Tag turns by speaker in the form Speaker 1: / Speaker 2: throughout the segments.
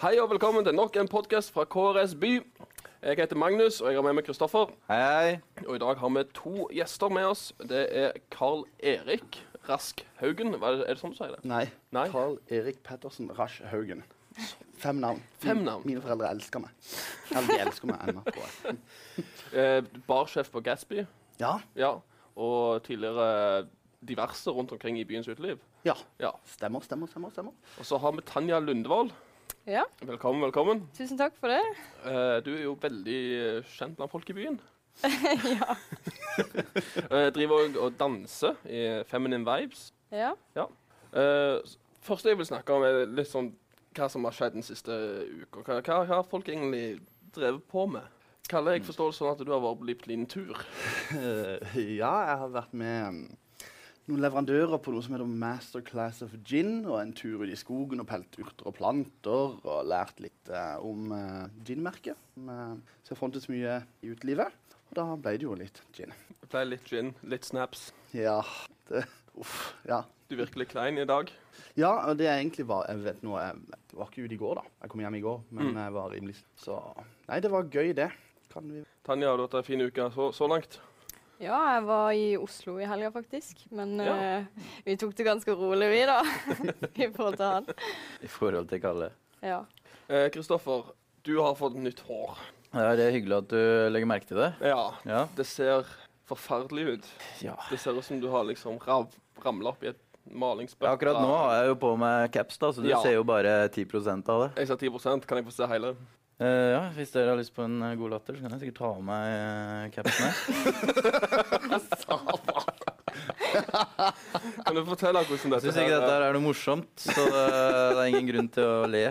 Speaker 1: Hei og velkommen til nok en podkast fra KRS By. Jeg heter Magnus, og jeg har med meg Kristoffer.
Speaker 2: Hei.
Speaker 1: Og i dag har vi to gjester med oss. Det er Carl Erik Rask Haugen. Hva Er det, er det sånn du sier det?
Speaker 3: Nei.
Speaker 1: Nei?
Speaker 3: Carl Erik Pettersen Rasch Haugen. Fem navn.
Speaker 1: Fem
Speaker 3: Min-
Speaker 1: navn.
Speaker 3: Mine foreldre elsker meg. Eller de elsker meg ennå, tror jeg.
Speaker 1: Eh, barsjef på Gatsby.
Speaker 3: Ja.
Speaker 1: Ja. Og tidligere diverse rundt omkring i byens uteliv.
Speaker 3: ja.
Speaker 1: Ja.
Speaker 3: Stemmer, stemmer, stemmer. stemmer.
Speaker 1: Og så har vi Tanja Lundevold.
Speaker 4: Ja,
Speaker 1: Velkommen, velkommen.
Speaker 4: tusen takk for det.
Speaker 1: Eh, du er jo veldig eh, kjent blant folk i byen. ja. driver òg og danser i Feminine Vibes.
Speaker 4: Ja.
Speaker 1: Eh, s- første jeg vil snakke om, er litt sånn hva som har skjedd den siste uka. Hva, hva har folk egentlig drevet på med? Kalle,
Speaker 2: Mm.
Speaker 1: jeg forstår det sånn at du har vært på litt liten tur.
Speaker 3: Eh, ja, jeg har vært med mm, noen leverandører på noe som heter Masterclass of Gin, og en tur ut i skogen og pelt urter og planter, og lært litt eh, om eh, ginmerket. Som eh, ser frontes mye i utelivet. Og da ble det jo litt gin.
Speaker 1: Det ble litt gin, litt snaps.
Speaker 3: Ja, det, uff, ja.
Speaker 1: Du er virkelig klein i dag.
Speaker 3: Ja, og det er egentlig var Jeg vet nå, jeg jeg var ikke ute i går, da. Jeg kom hjem i går, men
Speaker 1: Mm.
Speaker 3: jeg var rimelig Så Nei, det var gøy, det. Kan vi
Speaker 1: Tanja, har du hatt en fin uke så, så langt?
Speaker 4: ja, jeg var i Oslo i helga faktisk, men
Speaker 1: Ja.
Speaker 4: eh, vi tok det ganske rolig vi da, i forhold til han.
Speaker 2: I forhold til Kalle.
Speaker 4: Ja.
Speaker 1: Eh, Kristoffer, du har fått nytt hår.
Speaker 2: Ja, det er hyggelig at du legger merke til det.
Speaker 1: Ja.
Speaker 2: Ja.
Speaker 1: Det ser forferdelig ut.
Speaker 2: ja.
Speaker 1: Det ser ut som du har liksom rav, ramla opp i et malingsbøtte.
Speaker 2: Akkurat nå har jeg jo på meg caps, da, så du
Speaker 1: Ja.
Speaker 2: ser jo bare 10 av det.
Speaker 1: Jeg sa 10 kan jeg få se hele?
Speaker 2: Eh, ja, Hvis dere har lyst på en eh, god latter, så kan jeg sikkert ta av meg eh, capsen. her.
Speaker 1: Kan du fortelle hvordan
Speaker 2: Jeg
Speaker 1: dette
Speaker 2: syns ikke dette her er noe morsomt, så det, det er ingen grunn til å le.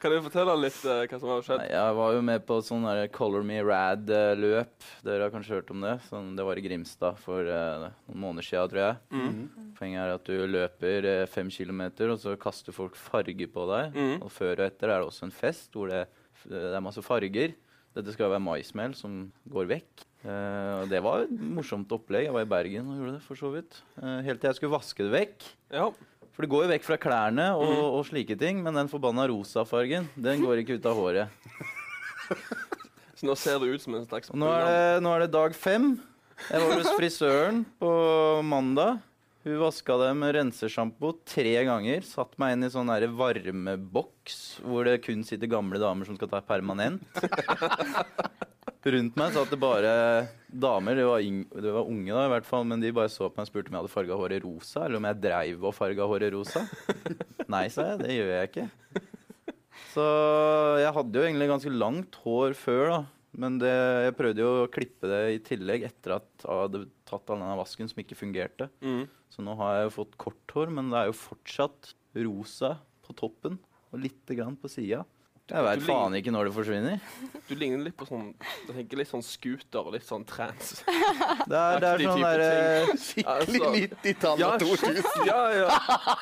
Speaker 1: Kan du fortelle litt eh, hva som har skjedd?
Speaker 2: Nei, Jeg var jo med på sånn der Color Me Rad-løp. Dere har kanskje hørt om det? Sånn, det var i Grimstad for eh, noen måneder siden, tror jeg.
Speaker 1: Mm.
Speaker 3: Mm.
Speaker 2: Poenget er at du løper eh, fem kilometer, og så kaster folk farge på deg.
Speaker 1: Mhm.
Speaker 2: Mm. Og før og etter er det også en fest hvor det, det er masse farger. Dette skal være maismel som går vekk. Eh, og det var et morsomt opplegg. Jeg var i Bergen og gjorde det, for så vidt. Eh, helt til jeg skulle vaske det vekk.
Speaker 1: Ja.
Speaker 2: For det går jo vekk fra klærne og, og slike ting, men den forbanna rosafargen, den går ikke ut av håret.
Speaker 1: Så nå ser det ut som en slags
Speaker 2: Og nå er, det, nå er det dag fem. Jeg var hos frisøren på mandag. Hun vaska det med rensesjampo tre ganger. Satt meg inn i sånn der varmeboks hvor det kun sitter gamle damer som skal ta permanent. Rundt meg satt det bare damer. Det var, yng- det var unge, da, i hvert fall. Men de bare så på meg og spurte om jeg hadde farga håret rosa, eller om jeg dreiv og farga håret rosa. Nei, sa jeg. Det gjør jeg ikke. Så jeg hadde jo egentlig ganske langt hår før, da. Men det, jeg prøvde jo å klippe det i tillegg etter at jeg hadde tatt all denne vasken som ikke fungerte.
Speaker 1: Mm.
Speaker 2: Så nå har jeg jo fått kort hår, men det er jo fortsatt rosa på toppen og lite grann på sida. Jeg
Speaker 1: Du
Speaker 2: veit
Speaker 1: ligner-
Speaker 2: faen ikke når det forsvinner.
Speaker 1: Du ligner litt på sånn Jeg tenker litt sånn scooter og litt sånn trans.
Speaker 2: Det er, det er
Speaker 1: Aktig
Speaker 2: sånn
Speaker 1: type
Speaker 2: derre
Speaker 3: Skikkelig
Speaker 1: Altså,
Speaker 3: 90-tall
Speaker 1: ja,
Speaker 3: og 2000.
Speaker 1: ja, ja.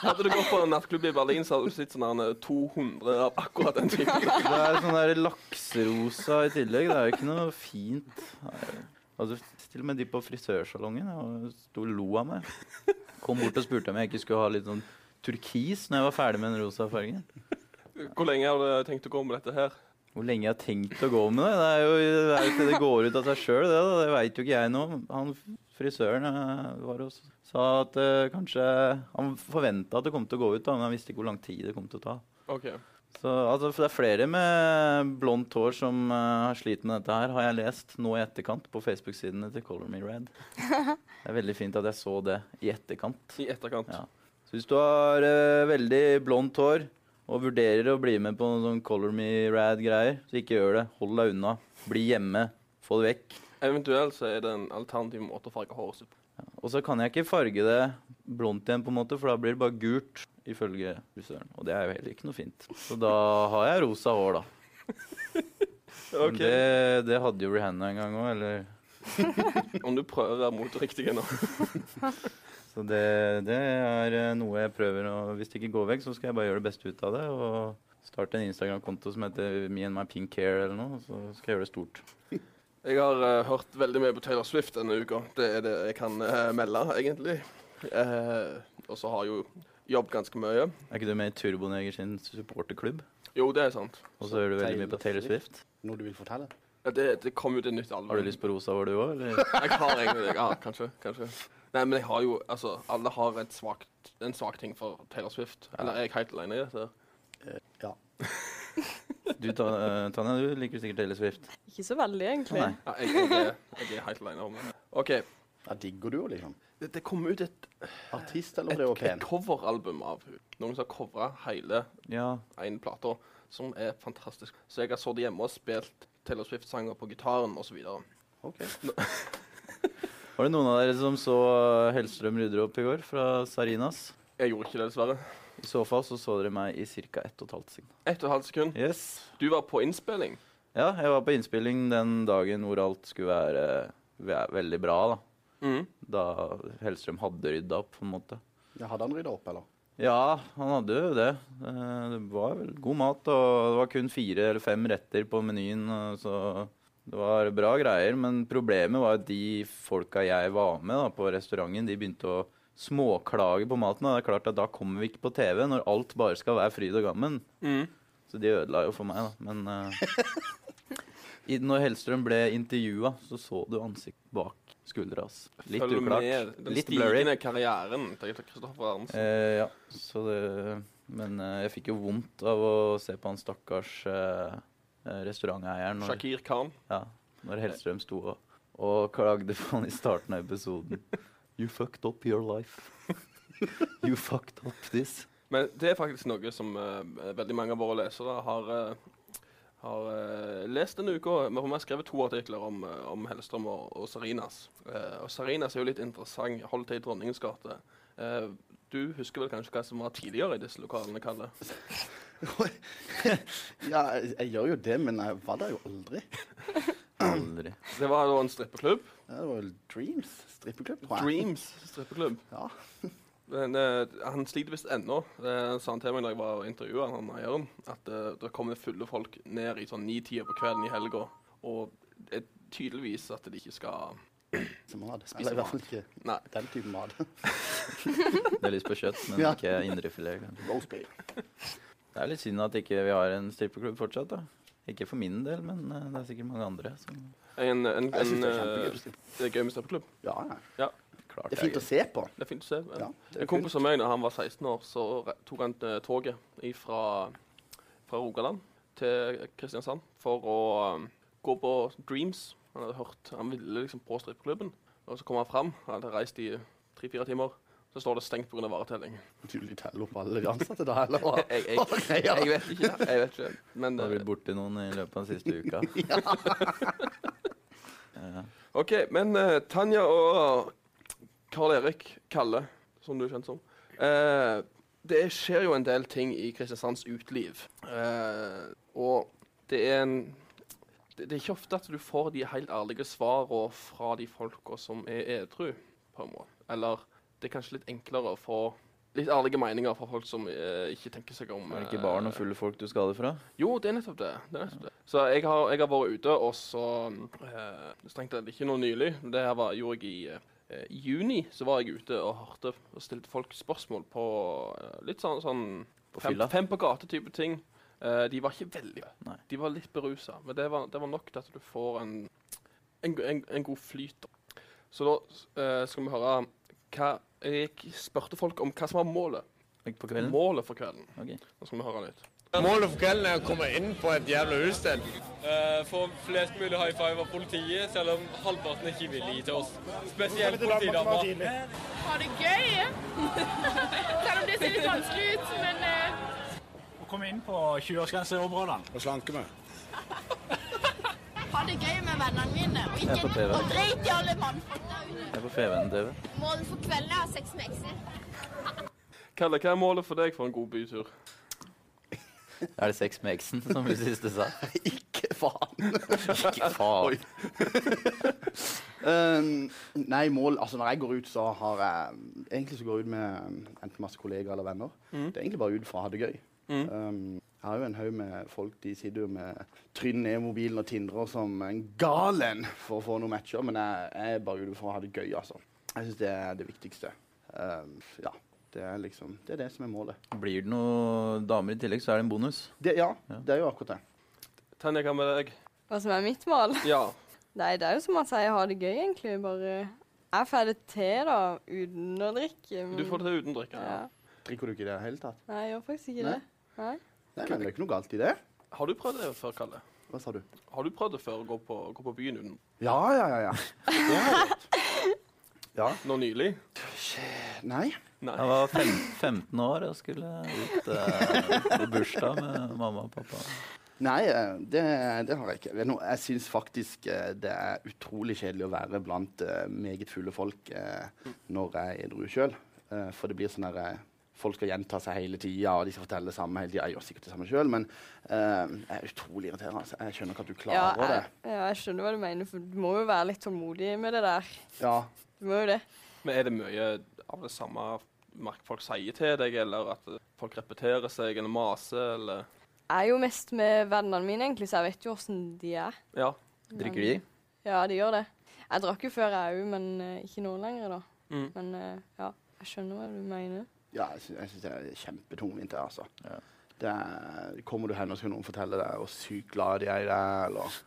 Speaker 1: Hadde du gått på en nattklubb i Berlin, så hadde du sett sånn her, eh, 200 av akkurat den typen.
Speaker 2: Det er sånn der lakserosa i tillegg. Det er jo ikke noe fint. Altså, til og med de på frisørsalongen jeg sto og lo av meg. Kom bort og spurte om jeg ikke skulle ha litt sånn turkis når jeg var ferdig med den rosa fargen.
Speaker 1: Hvor lenge har du tenkt å gå med dette her?
Speaker 2: Hvor lenge jeg har tenkt å gå med det? Det er jo, det, er jo ikke, det går ut av seg sjøl, det. da. Det veit jo ikke jeg nå. Han frisøren eh, var og sa at eh, kanskje Han forventa at det kom til å gå ut, da, men han visste ikke hvor lang tid det kom til å ta.
Speaker 1: OK.
Speaker 2: Så altså, for Det er flere med blondt hår som eh, har slitt med dette her, har jeg lest nå i etterkant på Facebook-sidene til Color Me Red. Det er veldig fint at jeg så det i etterkant.
Speaker 1: I etterkant.
Speaker 2: Ja. Så hvis du har eh, veldig blondt hår og vurderer å bli med på noen sånn Color Me Red-greier, så ikke gjør det. Hold deg unna. Bli hjemme. Få det vekk.
Speaker 1: Eventuelt så er det en alternativ måte å farge håret sitt på.
Speaker 2: Og så kan jeg ikke farge det blondt igjen, på en måte, for da blir det bare gult. Ifølge frisøren. Og det er jo heller ikke noe fint. Så da har jeg rosa hår, da. Men
Speaker 1: Ok.
Speaker 2: Det, det hadde jo Rihanna en gang òg, eller
Speaker 1: Om du prøver å være moteriktig nå.
Speaker 2: Så det, det er eh, noe jeg prøver å Hvis det ikke går vekk, så skal jeg bare gjøre det beste ut av det. Og starte en Instagram-konto som heter Me and my pink hair eller noe. Så skal jeg gjøre det stort.
Speaker 1: Jeg har eh, hørt veldig mye på Taylor Swift denne uka. Det er det jeg kan eh, melde, egentlig. Eh, og så har jo jobb ganske mye.
Speaker 2: Er ikke du med i Turboneger sin supporterklubb?
Speaker 1: Jo, det er sant.
Speaker 2: Og så hører du veldig mye på
Speaker 3: Taylor
Speaker 2: Taylor Swift.
Speaker 3: Noe du vil fortelle?
Speaker 1: Ja, det, det kom jo til nytt album.
Speaker 2: Har du lyst på rosa hår, du òg, eller?
Speaker 1: Jeg har egentlig det. Ja, kanskje. kanskje. Nei, men jeg har jo Altså, alle har et svagt, en svak ting for Taylor Swift.
Speaker 2: Ja.
Speaker 1: Eller er jeg helt alene i dette?
Speaker 3: Ja.
Speaker 2: Du, Ta- eh, Tanja, du liker sikkert Taylor Swift.
Speaker 4: Ikke så veldig, egentlig.
Speaker 2: Nei.
Speaker 1: Ja, jeg, jeg, er- jeg er helt alene om det. OK.
Speaker 3: Ja, digger du jo, liksom?
Speaker 1: Det, det kom ut et,
Speaker 3: Artist, eller
Speaker 1: et,
Speaker 3: blir du pen?
Speaker 1: et coveralbum av hun. Noen som har covra hele
Speaker 2: Ja.
Speaker 1: én plate, som er fantastisk. Så jeg har sittet hjemme og spilt Taylor Swift-sanger på gitaren osv.
Speaker 3: Ok.
Speaker 2: Var det noen av dere som så eh, Hellstrøm rydder opp i går fra Sarinas?
Speaker 1: Jeg gjorde ikke det, dessverre.
Speaker 2: I så fall så, så dere meg i ca. ett og et halvt sekund.
Speaker 1: Ett og et halvt sekund.
Speaker 2: Yes.
Speaker 1: Du var på innspilling.
Speaker 2: Ja, jeg var på innspilling den dagen hvor alt skulle være eh, ve- veldig bra, da.
Speaker 1: Mm.
Speaker 2: Da Hellstrøm hadde rydda opp, på en måte.
Speaker 3: Ja, hadde han rydda opp, eller?
Speaker 2: Ja, han hadde jo det. Eh, Det var vel god mat, og det var kun fire eller fem retter på menyen. og Så det var bra greier. Men problemet var at de folka jeg var med da, på restauranten, de begynte å småklage på maten. Og det er klart at da kommer vi ikke på TV når alt bare skal være fryd og gammen.
Speaker 1: Mm.
Speaker 2: Så de ødela jo for meg, da. Men eh, i- når Hellstrøm ble intervjua, så så du ansiktet bak skuldra hans. Litt
Speaker 1: Følg
Speaker 2: uklart.
Speaker 1: med den
Speaker 2: Litt blurry.
Speaker 1: stigende karrieren til Kristoffer Arnsen.
Speaker 2: Eh, ja, så det Men eh, jeg fikk jo vondt av å se på han stakkars eh, eh, restauranteieren når,
Speaker 1: Shakir Khan.
Speaker 2: ja, når Hellstrøm sto og, og klagde på han i starten av episoden. You fucked up your life. You fucked up this.
Speaker 1: Men det er faktisk noe som eh, veldig mange av våre lesere har, eh, har eh, lest denne uka. Vi har- vi har skrevet to artikler om, eh, om Hellstrøm og, og Sarinas. Eh, og Sarinas er jo litt interessant. Holdt til i Dronningens gate. Eh, du husker vel kanskje hva som var tidligere i disse lokalene, Kalle?
Speaker 3: ja, jeg, jeg gjør jo det, men jeg var der jo aldri.
Speaker 2: Aldri.
Speaker 1: Det var da en strippeklubb.
Speaker 3: Ja, Det var jo Dreams strippeklubb, tror jeg.
Speaker 1: Dreams strippeklubb.
Speaker 3: Ja.
Speaker 1: Men, eh, han sliter visst ennå. Det sa han til meg da jeg var og intervjua han eieren, at eh, det kommer fulle folk ned i sånn ni-tida på kvelden i helga. Og det er tydeligvis at de ikke skal
Speaker 3: Spise mat.
Speaker 1: Spise
Speaker 3: Eller i hvert fall
Speaker 1: mat.
Speaker 3: ikke
Speaker 1: Nei.
Speaker 3: den typen mat.
Speaker 2: Det er lyst på kjøtt, men
Speaker 3: Ja.
Speaker 2: ikke indrefilet. kanskje.
Speaker 3: Roast beef.
Speaker 2: Det er litt synd at ikke vi har en strippeklubb fortsatt. da. Ikke for min del, men eh, det er sikkert mange andre som
Speaker 1: En, en,
Speaker 3: Jeg
Speaker 1: en,
Speaker 3: syns det
Speaker 1: eh,
Speaker 3: er kjempegøy. å strippe.
Speaker 1: det er gøy med steppeklubb.
Speaker 3: Ja, ja.
Speaker 2: klart
Speaker 3: Det er fint å se på.
Speaker 1: Det er fint å se.
Speaker 3: Ja, det er
Speaker 1: en kompis av meg, da han var 16 år, så re- tok han eh, toget fra, fra Rogaland til Kristiansand for å eh, gå på Dreams. Han hadde hørt, han ville liksom på strippeklubben, og så kom han fram. Han hadde reist i tre-fire timer. Så står det stengt pga. varetelling.
Speaker 3: Tydelig teller opp alle de ansatte da, eller hva?
Speaker 1: Jeg, jeg,
Speaker 3: Hva greier?
Speaker 1: jeg vet ikke. Jeg vet ikke. Men
Speaker 2: Det har
Speaker 1: eh,
Speaker 2: blitt borti noen i løpet av den siste Eh, uka. Ja.
Speaker 1: OK. Men eh, Tanja og eh, Karl Erik Kalle, som du er kjent som eh, Det skjer jo en del ting i Kristiansands uteliv. Eh, og det er en det, det er ikke ofte at du får de helt ærlige svarene fra de folka som er edru, på en måte. Eller det er kanskje litt enklere å få litt ærlige meninger fra folk som eh, ikke tenker seg om.
Speaker 2: Er det ikke barn og
Speaker 1: eh,
Speaker 2: fulle folk du skal ha det fra?
Speaker 1: Jo, det er nettopp det. det, er nettopp det. Så jeg har, jeg har vært ute, og så eh, Strengt tatt ikke noe nylig. men Det her var, gjorde jeg i eh, i juni. Så var jeg ute og hørte og stilte folk spørsmål på eh, litt sånn, sånn
Speaker 2: På
Speaker 1: fem,
Speaker 2: fylla?
Speaker 1: fem på gate-type ting. Eh, de var ikke veldig
Speaker 2: Nei.
Speaker 1: De var litt berusa, men det var, det var nok til at du får en, en, go- en, en god flyt. da. Så da eh, skal vi høre hva Jeg spurte folk om hva som var målet.
Speaker 2: Ikke på kvelden?
Speaker 1: Målet for kvelden.
Speaker 2: Ok.
Speaker 1: Nå skal vi høre litt.
Speaker 5: Målet for kvelden er å komme inn på et jævla utested.
Speaker 6: Eh, Få flest mulig high five av politiet, selv om halvparten ikke vil gi til oss. Spesielt politidama.
Speaker 7: ha det gøy. Selv om det ser litt vanskelig ut, men eh,
Speaker 8: Å komme inn på 20-årsgrenseområdene.
Speaker 9: og slanke meg.
Speaker 10: ha det gøy med vennene mine. Og
Speaker 2: Jeg er på
Speaker 10: ikke
Speaker 2: TV.
Speaker 10: og drit i alle mannfolk der ute.
Speaker 2: Jeg er på FVN-TV.
Speaker 10: Målet for kvelden er sex med eksen.
Speaker 1: Kalle, hva er målet for deg for en god bytur?
Speaker 2: Er det sex med eksen, som vi siste sa?
Speaker 3: Ikke faen.
Speaker 2: Ikke faen.
Speaker 3: Um, nei, mål Altså, når jeg går ut, så har jeg Egentlig så går jeg ut med um, enten masse kollegaer eller venner.
Speaker 1: Mm.
Speaker 3: Det er egentlig bare ut for å ha det gøy. Um, jeg har jo en haug med folk de sitter jo med trynet ned i mobilen og tindrer som en galen for å få noen matcher, men jeg, jeg er bare ute for å ha det gøy, altså. Jeg syns det er det viktigste. Um, ja. Det er liksom, det er det som er målet.
Speaker 2: Blir det noen damer i tillegg, så er det en bonus.
Speaker 3: Det, ja,
Speaker 2: Ja.
Speaker 3: det er jo akkurat det.
Speaker 1: Tanja, hva med deg?
Speaker 4: Hva som er mitt mål?
Speaker 1: Ja.
Speaker 4: Nei, det er jo som han sier, ha det gøy, egentlig. Bare Jeg får det til, da, uten å drikke. men-
Speaker 1: Du får det til uten drikke.
Speaker 4: Ja.
Speaker 1: Ja.
Speaker 3: Drikker du ikke i det hele tatt?
Speaker 4: Nei, jeg gjør faktisk ikke
Speaker 3: Nei?
Speaker 4: det. Nei.
Speaker 3: Nei, men det er ikke noe galt i det.
Speaker 1: Har du prøvd det før, Kalle?
Speaker 3: Hva sa du?
Speaker 1: Har du prøvd det før å gå på, gå på byen uten
Speaker 3: Ja, ja, ja. ja. Det har jeg gjort. Ja.
Speaker 1: nå nylig?
Speaker 3: Nei.
Speaker 2: Jeg var fem, 15 år og skulle ut eh, på bursdag med mamma og pappa.
Speaker 3: Nei, eh, det, det har jeg ikke. Vet du noe, Jeg syns faktisk eh, det er utrolig kjedelig å være blant eh, meget fulle folk eh, når jeg er edru sjøl. For det blir sånn der eh, Folk skal gjenta seg hele tida, og de skal fortelle det samme hele tida. Jeg gjør sikkert det samme sjøl, men eh, jeg er utrolig irriterende. Altså. Jeg skjønner ikke at du
Speaker 4: Ja,
Speaker 3: klarer
Speaker 4: jeg, ja, jeg skjønner hva du mener, for du må jo være litt tålmodig med det der.
Speaker 3: det. Ja.
Speaker 4: Du må jo det.
Speaker 1: Men er det mye av det samme merk folk sier til deg, eller at folk repeterer seg eller maser, eller
Speaker 4: Jeg er jo mest med vennene mine, egentlig, så jeg vet jo åssen de er.
Speaker 1: Ja.
Speaker 2: Drikker de?
Speaker 4: Ja, de gjør det. Jeg drakk jo før, jeg òg, men eh, ikke nå lenger, da.
Speaker 1: Mm.
Speaker 4: Men eh, ja, jeg skjønner hva du mener.
Speaker 3: Ja, jeg syns, jeg syns det er kjempetungvint, det, altså.
Speaker 2: Ja.
Speaker 3: Det er, kommer du hen, og skal noen fortelle deg hvor sykt glad de er i deg, eller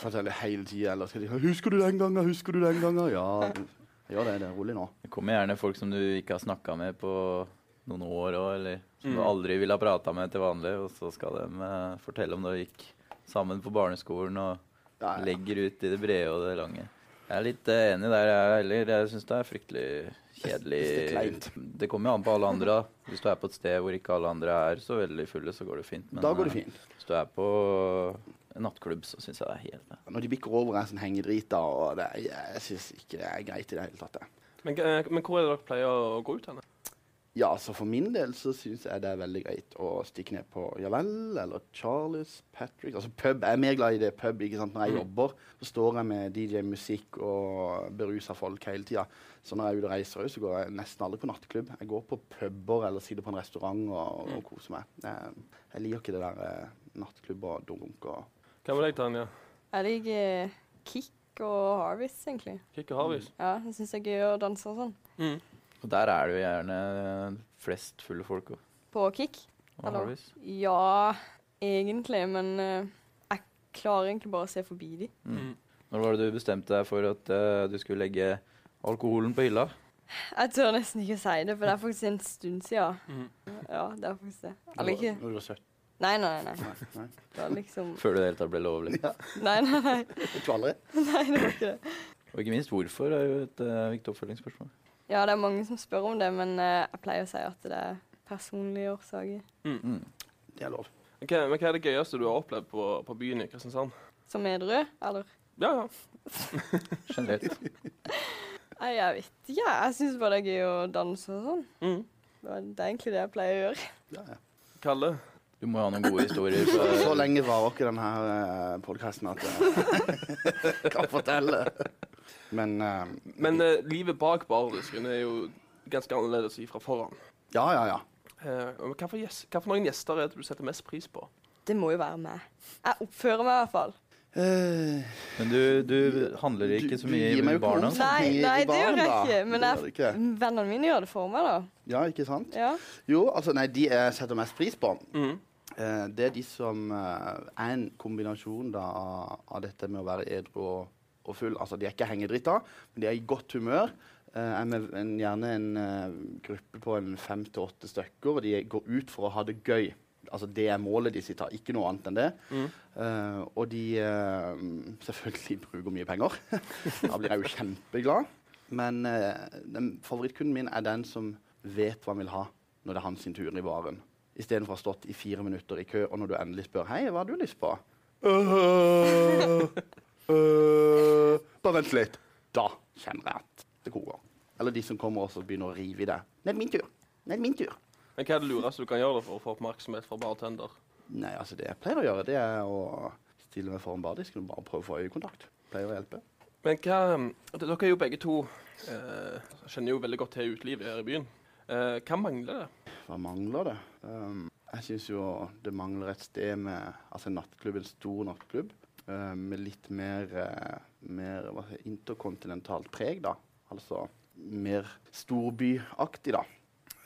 Speaker 3: fortelle hele tida, eller skal de si 'Husker du den gangen? Husker du den gangen?' Ja, du- jeg gjør det. Det er rolig nå.
Speaker 2: Det kommer gjerne folk som du ikke har snakka med på noen år òg, eller som du
Speaker 1: Mm.
Speaker 2: aldri ville ha prata med til vanlig, og så skal de eh, fortelle om da vi gikk sammen på barneskolen og
Speaker 3: Ja, ja.
Speaker 2: legger ut i det brede og det lange. Jeg er litt eh, enig der, jeg heller. Jeg syns det er fryktelig kjedelig.
Speaker 3: Det er kleint.
Speaker 2: Det kommer jo an på alle andre. da. Hvis du er på et sted hvor ikke alle andre er så veldig fulle, så går det fint. Men
Speaker 3: Da går det
Speaker 2: eh,
Speaker 3: fint.
Speaker 2: hvis du er på en nattklubb, så syns jeg det er helt
Speaker 3: Når de bikker over, er jeg sånn hengedrit, da, og det, er- jeg syns ikke det er greit i det hele tatt. det.
Speaker 1: Men, eh, men hvor er det dere pleier å gå ut hen?
Speaker 3: Ja, så for min del så syns jeg det er veldig greit å stikke ned på Ja vel eller Charles, Patrick Altså pub. Jeg er mer glad i det pub. ikke sant? Når jeg jobber, så står jeg med DJ-musikk og berusa folk hele tida. Så når jeg er ute og reiser òg, så går jeg nesten aldri på nattklubb. Jeg går på puber eller sitter på en restaurant og, og koser meg. Jeg, jeg liker ikke det der eh, nattklubb og dunk og
Speaker 1: Hva med deg, Tanja?
Speaker 4: Jeg liker eh, Kick og Harvest, egentlig.
Speaker 1: Kikke Harvis?
Speaker 4: Ja, jeg syns det er gøy å danse og sånn.
Speaker 2: Og der er det jo gjerne flest fulle folk òg.
Speaker 4: På Kick. Hallo. Ja, egentlig, men eh, jeg klarer egentlig bare å se forbi de.
Speaker 2: Mm. Når var det du bestemte deg for at eh, du skulle legge alkoholen på hylla?
Speaker 4: Jeg tør nesten ikke si det, for det er faktisk en stund siden.
Speaker 1: Mhm.
Speaker 4: Ja, det er faktisk det. Eller ikke
Speaker 3: Når du er 17.
Speaker 4: Nei, nei, nei. nei.
Speaker 3: Nei.
Speaker 4: Det var liksom
Speaker 2: Før det i det hele tatt ble lovlig.
Speaker 4: Nei, nei, nei.
Speaker 3: Vet du aldri?
Speaker 4: nei det var ikke det.
Speaker 2: Og ikke minst hvorfor er jo et eh, viktig oppfølgingsspørsmål.
Speaker 4: Ja, det er mange som spør om det, men eh, jeg pleier å si at det er personlige årsaker.
Speaker 2: Mm.
Speaker 3: Det er lov.
Speaker 1: Ok, men Hva er det gøyeste du har opplevd på, på byen i Kristiansand?
Speaker 4: Som edru, eller?
Speaker 1: Ja, ja.
Speaker 2: Generelt.
Speaker 4: Nei, jeg vet ikke. Ja, jeg syns bare det er gøy å danse og sånn.
Speaker 1: Mm.
Speaker 4: Det er det er egentlig det jeg pleier å gjøre.
Speaker 3: Ja, ja.
Speaker 1: Kalle?
Speaker 2: Du må jo ha noen gode historier.
Speaker 3: Så
Speaker 2: For,
Speaker 3: lenge varer ikke denne uh, podkasten at jeg kan fortelle. Men eh,
Speaker 1: Men eh, livet bak bardisken er jo ganske annerledes fra foran.
Speaker 3: ja, ja, ja.
Speaker 1: Eh, men hva, for gjes- hva for noen gjester er det du setter mest pris på?
Speaker 4: Det må jo være meg. Jeg oppfører meg i hvert fall.
Speaker 3: Eh,
Speaker 2: men du, du handler ikke så
Speaker 3: du
Speaker 2: mye
Speaker 3: gir meg jo
Speaker 2: med barna.
Speaker 3: ikke noe.
Speaker 4: Nei,
Speaker 3: gir
Speaker 4: nei
Speaker 3: ikke
Speaker 4: det gjør jeg
Speaker 3: barn, da.
Speaker 4: ikke. Men
Speaker 3: Det
Speaker 4: jeg,
Speaker 3: gjør du
Speaker 4: vennene mine gjør det for meg, da.
Speaker 3: ja, ikke sant?
Speaker 4: Ja.
Speaker 3: Jo, altså, nei, de jeg setter mest pris på,
Speaker 1: Mm.
Speaker 3: eh, det er de som eh, er en kombinasjon da, av- av dette med å være edru og, og full. Altså, de er ikke hengedrita, men de er i godt humør. Eh, er med en, gjerne en eh, gruppe på en fem til åtte stykker, og de går ut for å ha det gøy. Altså, det er målet de sitter, ikke noe annet enn det.
Speaker 1: Mm.
Speaker 3: Eh, og de eh, selvfølgelig bruker mye penger. da blir jeg jo kjempeglad. Men eh, den, favorittkunden min er den som vet hva han vil ha når det er hans sin tur i baren. Istedenfor å ha stått i fire minutter i kø, og når du endelig spør Hei, hva har du lyst på? Eh, «Øh, øh, bare vent litt. Da kjenner jeg at det koker. Eller de som kommer også og begynner å rive i det. Nå er det min tur. Nå er det min tur.
Speaker 1: Men Hva er det lureste du kan gjøre for å få oppmerksomhet fra bartender?
Speaker 3: Nei, altså det jeg pleier å gjøre, det er å stille meg foran bardisken og bare prøve å få øyekontakt. Pleier å hjelpe.
Speaker 1: Men hva, ehm, d- Dere er jo begge to eh, kjenner jo veldig godt til utelivet her i byen. Eh, hva mangler det?
Speaker 3: Hva mangler det? Um, jeg syns jo det mangler et sted med altså en nattklubb, en stor nattklubb, eh, med litt mer, eh, mer hva heter, det, interkontinentalt preg, da. Altså mer storbyaktig, da.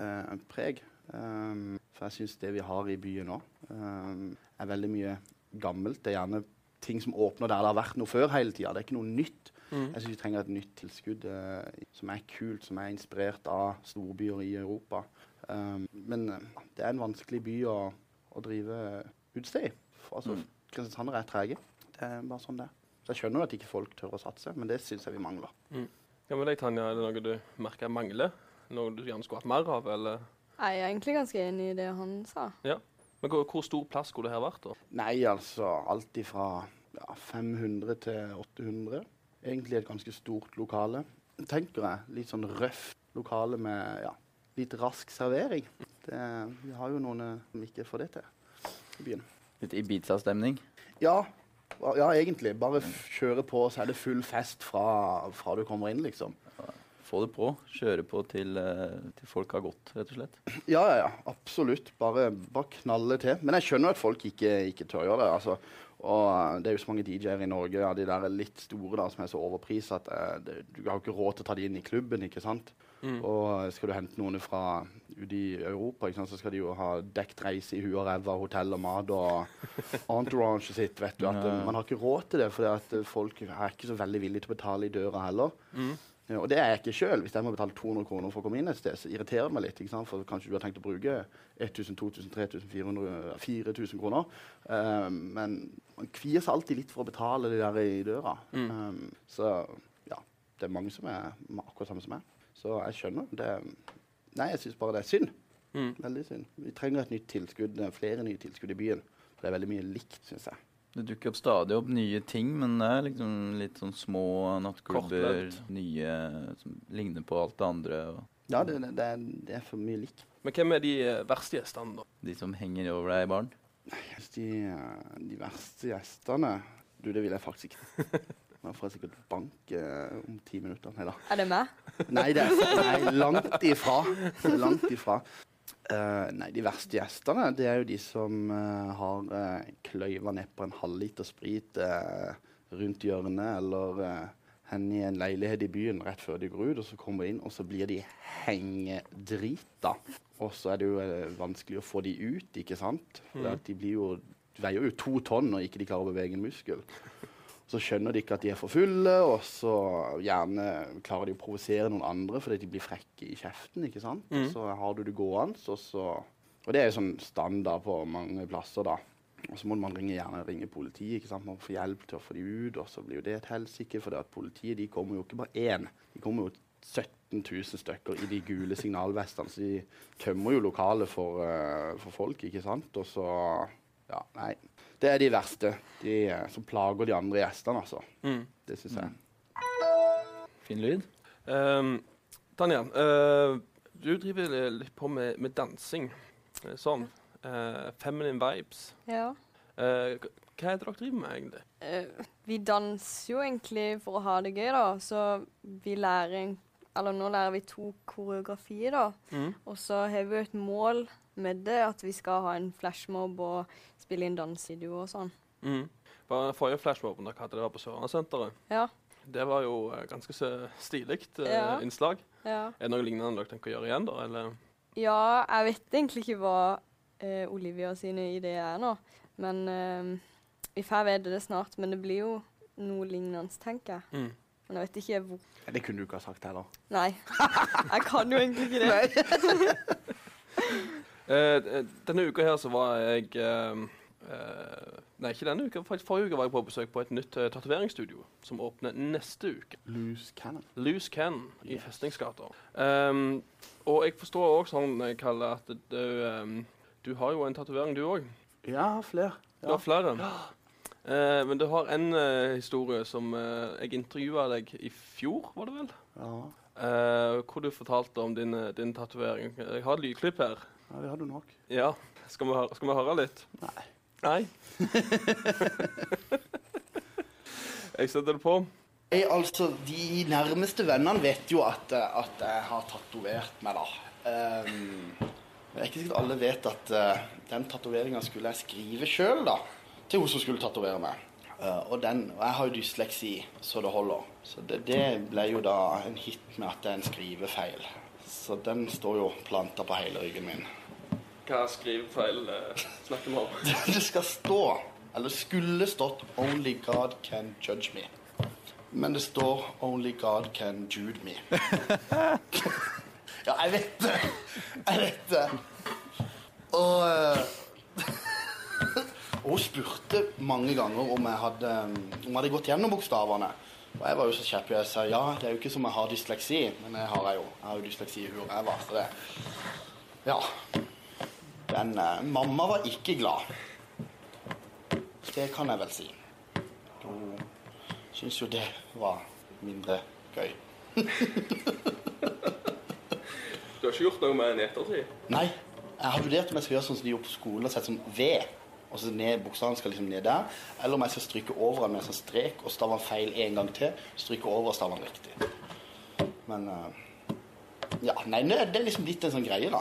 Speaker 3: eh, preg. Um, for jeg syns det vi har i byen nå, um, er veldig mye gammelt. Det er gjerne ting som åpner der det har vært noe før hele tida. Det er ikke noe nytt. Jeg syns vi trenger et nytt tilskudd eh, som er kult, som er inspirert av storbyer i Europa. Um, men eh, det er en vanskelig by å, å drive utested i. For, Altså,
Speaker 2: Mm.
Speaker 3: Kristiansandere er trege. Det er bare sånn det er. Så jeg skjønner jo at ikke folk tør å satse, men det syns jeg vi mangler.
Speaker 1: Hva med deg, Tanja? Er det noe du merker mangler? Noe du gjerne skulle hatt mer av? eller?
Speaker 4: Nei, Jeg er egentlig ganske enig i det han sa.
Speaker 1: Men hvor, hvor stor plass skulle det her vært? da?
Speaker 3: Nei, altså alt ifra ja, 500 til 800. Egentlig et ganske stort lokale. Tenker jeg. Litt sånn røft lokale med ja, litt rask servering. Det, vi har jo noen eh, som ikke får det til i byen.
Speaker 2: Litt Ibiza-stemning.
Speaker 3: Ja, ja, ja, egentlig. Bare f- kjøre på, så er det full fest fra, fra du kommer inn, liksom.
Speaker 2: Få det på. Kjøre på til, eh, til folk har gått, rett og slett.
Speaker 3: Ja, ja, ja. Absolutt. Bare, bare knalle til. Men jeg skjønner at folk ikke, ikke tør gjøre det. altså. Og eh, Det er jo så mange DJ-er i Norge av de der er litt store da, som er så overprisa at eh, det, du har jo ikke råd til å ta de inn i klubben. ikke sant? Og eh, skal du hente noen fra ute i Europa, ikke sant? så skal de jo ha dekt reise i huet og ræva, hotell og mat og entourage sitt. vet du. At, eh,
Speaker 2: Ja.
Speaker 3: man har ikke råd til det, for folk er ikke så veldig villige til å betale i døra heller. Ja, og det er jeg ikke sjøl. Hvis jeg må betale 200 kroner for å komme inn et sted, så irriterer det meg litt. ikke sant? For kanskje du har tenkt å bruke 1000, 2000, 3000, 400, 4000 kroner. Eh, men man kvier seg alltid litt for å betale det der i døra. Eh, så ja, det er mange som er ma- akkurat samme som meg. Så jeg skjønner. Det, nei, jeg syns bare det er synd.
Speaker 1: Mm.
Speaker 3: Veldig synd. Vi trenger et nytt tilskudd, eh, flere nye tilskudd i byen. For det er veldig mye likt, syns jeg.
Speaker 2: Det dukker opp stadig opp nye ting, men det er liksom litt sånn små nattklubber.
Speaker 1: Kortlevd.
Speaker 2: Nye som ligner på alt det andre. Og
Speaker 3: Ja, det, det, det, er, det er for mye likt.
Speaker 1: Men hvem er de eh, verste gjestene, da?
Speaker 2: de som henger over deg i baren.
Speaker 3: Jeg synes De, eh, de verste gjestene Du, det vil jeg faktisk ikke. Nå får jeg sikkert bank eh, om ti minutter. Nei da.
Speaker 4: Er det meg?
Speaker 3: Nei, det er nei, langt ifra. Langt ifra. Eh, nei, de verste gjestene det er jo de som eh, har uh, kløyva ned på en halvliter sprit eh, rundt hjørnet, eller uh, hen i en leilighet i byen rett før de går ut, og så kommer de inn, og så blir de hengedrita. Og så er det jo eh, vanskelig å få de ut, ikke sant? For at de blir jo, de veier jo to tonn når ikke de klarer å bevege en muskel. Så skjønner de ikke at de er for fulle, og så gjerne klarer de å provosere noen andre fordi de blir frekke i kjeften. ikke sant? Og Så har du det gående, og så Og det er jo sånn standard på mange plasser, da. Og så må man ringe, gjerne ringe politiet. ikke sant? Man får hjelp til å få de ut, og så blir jo det et helsike. For det at politiet de kommer jo ikke bare én, de kommer jo 17 000 stykker i de gule signalvestene. Så de tømmer jo lokalet for, eh, for folk, ikke sant? Og så Ja, nei. Det er de verste. De eh, som plager de andre gjestene, altså. Det syns jeg.
Speaker 2: Fin lyd.
Speaker 1: Ehm, Tanja, eh, du driver li- litt på med, med dansing. eh, Sånn. Eh, feminine vibes.
Speaker 4: Ja.
Speaker 1: Eh, k- hva er det dere driver med, egentlig?
Speaker 4: Eh, vi danser jo egentlig for å ha det gøy, da. Så vi lærer en- Eller nå lærer vi to koreografier, da. Og så har vi jo et mål med det, at vi skal ha en flashmob og spille inn dansevideo og sånn.
Speaker 1: Mm. Bare Forrige flashmoben dere hadde, det var på Sørlandssenteret.
Speaker 4: Ja.
Speaker 1: Det var jo eh, ganske så stilig eh,
Speaker 4: Ja.
Speaker 1: innslag.
Speaker 4: Ja.
Speaker 1: Er det noe lignende dere tenker å gjøre igjen, da? Eller?
Speaker 4: ja, jeg vet egentlig ikke hva eh, Olivia sine ideer er nå. Men eh, vi får vite det snart. Men det blir jo noe lignende, tenker jeg.
Speaker 1: Mm.
Speaker 4: Men jeg vet ikke hvor
Speaker 3: Nei, Det kunne du ikke ha sagt heller.
Speaker 4: Nei. Jeg kan jo egentlig ikke det.
Speaker 1: Eh, d- denne uka her så var jeg eh, eh, Nei, ikke denne uka. Faktisk forrige uke var jeg på besøk på et nytt eh, tatoveringsstudio som åpner neste uke.
Speaker 3: Loose cannon.
Speaker 1: Loose Can i
Speaker 3: Yes.
Speaker 1: Festningsgata. Ehm, og jeg forstår òg sånn, eh, Kalle, at du, ehm, du har jo en tatovering, du òg.
Speaker 3: Ja, flere.
Speaker 1: Du har flere. Eh, men du har en eh, historie som eh, jeg intervjua deg i fjor, var det vel?
Speaker 3: Ja.
Speaker 1: Eh, hvor du fortalte om din, eh, din tatovering. Jeg har et lydklipp her.
Speaker 3: ja, vi hadde nok.
Speaker 1: Ja, skal vi, høre, skal vi høre litt?
Speaker 3: Nei.
Speaker 1: Nei? jeg setter det på.
Speaker 3: Jeg, altså, De nærmeste vennene vet jo at, eh, at jeg har tatovert meg, da. Ehm, men det er ikke sikkert alle vet at eh, den tatoveringa skulle jeg skrive sjøl, da. Til hun som skulle tatovere meg. Eh, og, den, og jeg har jo dysleksi, så det holder. Så det, det ble jo da en hit med at det er en skrivefeil. Så den står jo planta på hele ryggen min.
Speaker 1: Hva skrivefeil eh, snakker vi om?
Speaker 3: Det skal stå, eller skulle stått, 'Only God can judge me'. Men det står 'Only God can jude me'. ja, jeg vet det. Jeg vet det. Og eh, Og hun spurte mange ganger om jeg hadde, eh, om jeg hadde gått gjennom bokstavene. Og jeg var jo så kjepp og jeg sa ja, det er jo ikke som jeg har dysleksi. Men jeg har jeg jo. Jeg har jo dysleksi i huet jeg var. Så det Ja. Den eh, Mamma var ikke glad. Det kan jeg vel si. Hun syns jo det var mindre gøy.
Speaker 1: Du har ikke gjort noe med den i ettertid?
Speaker 3: Nei, jeg har vurdert om jeg skal gjøre sånn som de gjorde på skolen, og sette sånn V. Og så ned, Bokstaven skal liksom ned der. Eller om jeg skal stryke over den med en sånn strek og stave den feil en gang til. Stryke over og stave den riktig. Men eh, Ja, nei, det det er liksom litt en sånn greie, da.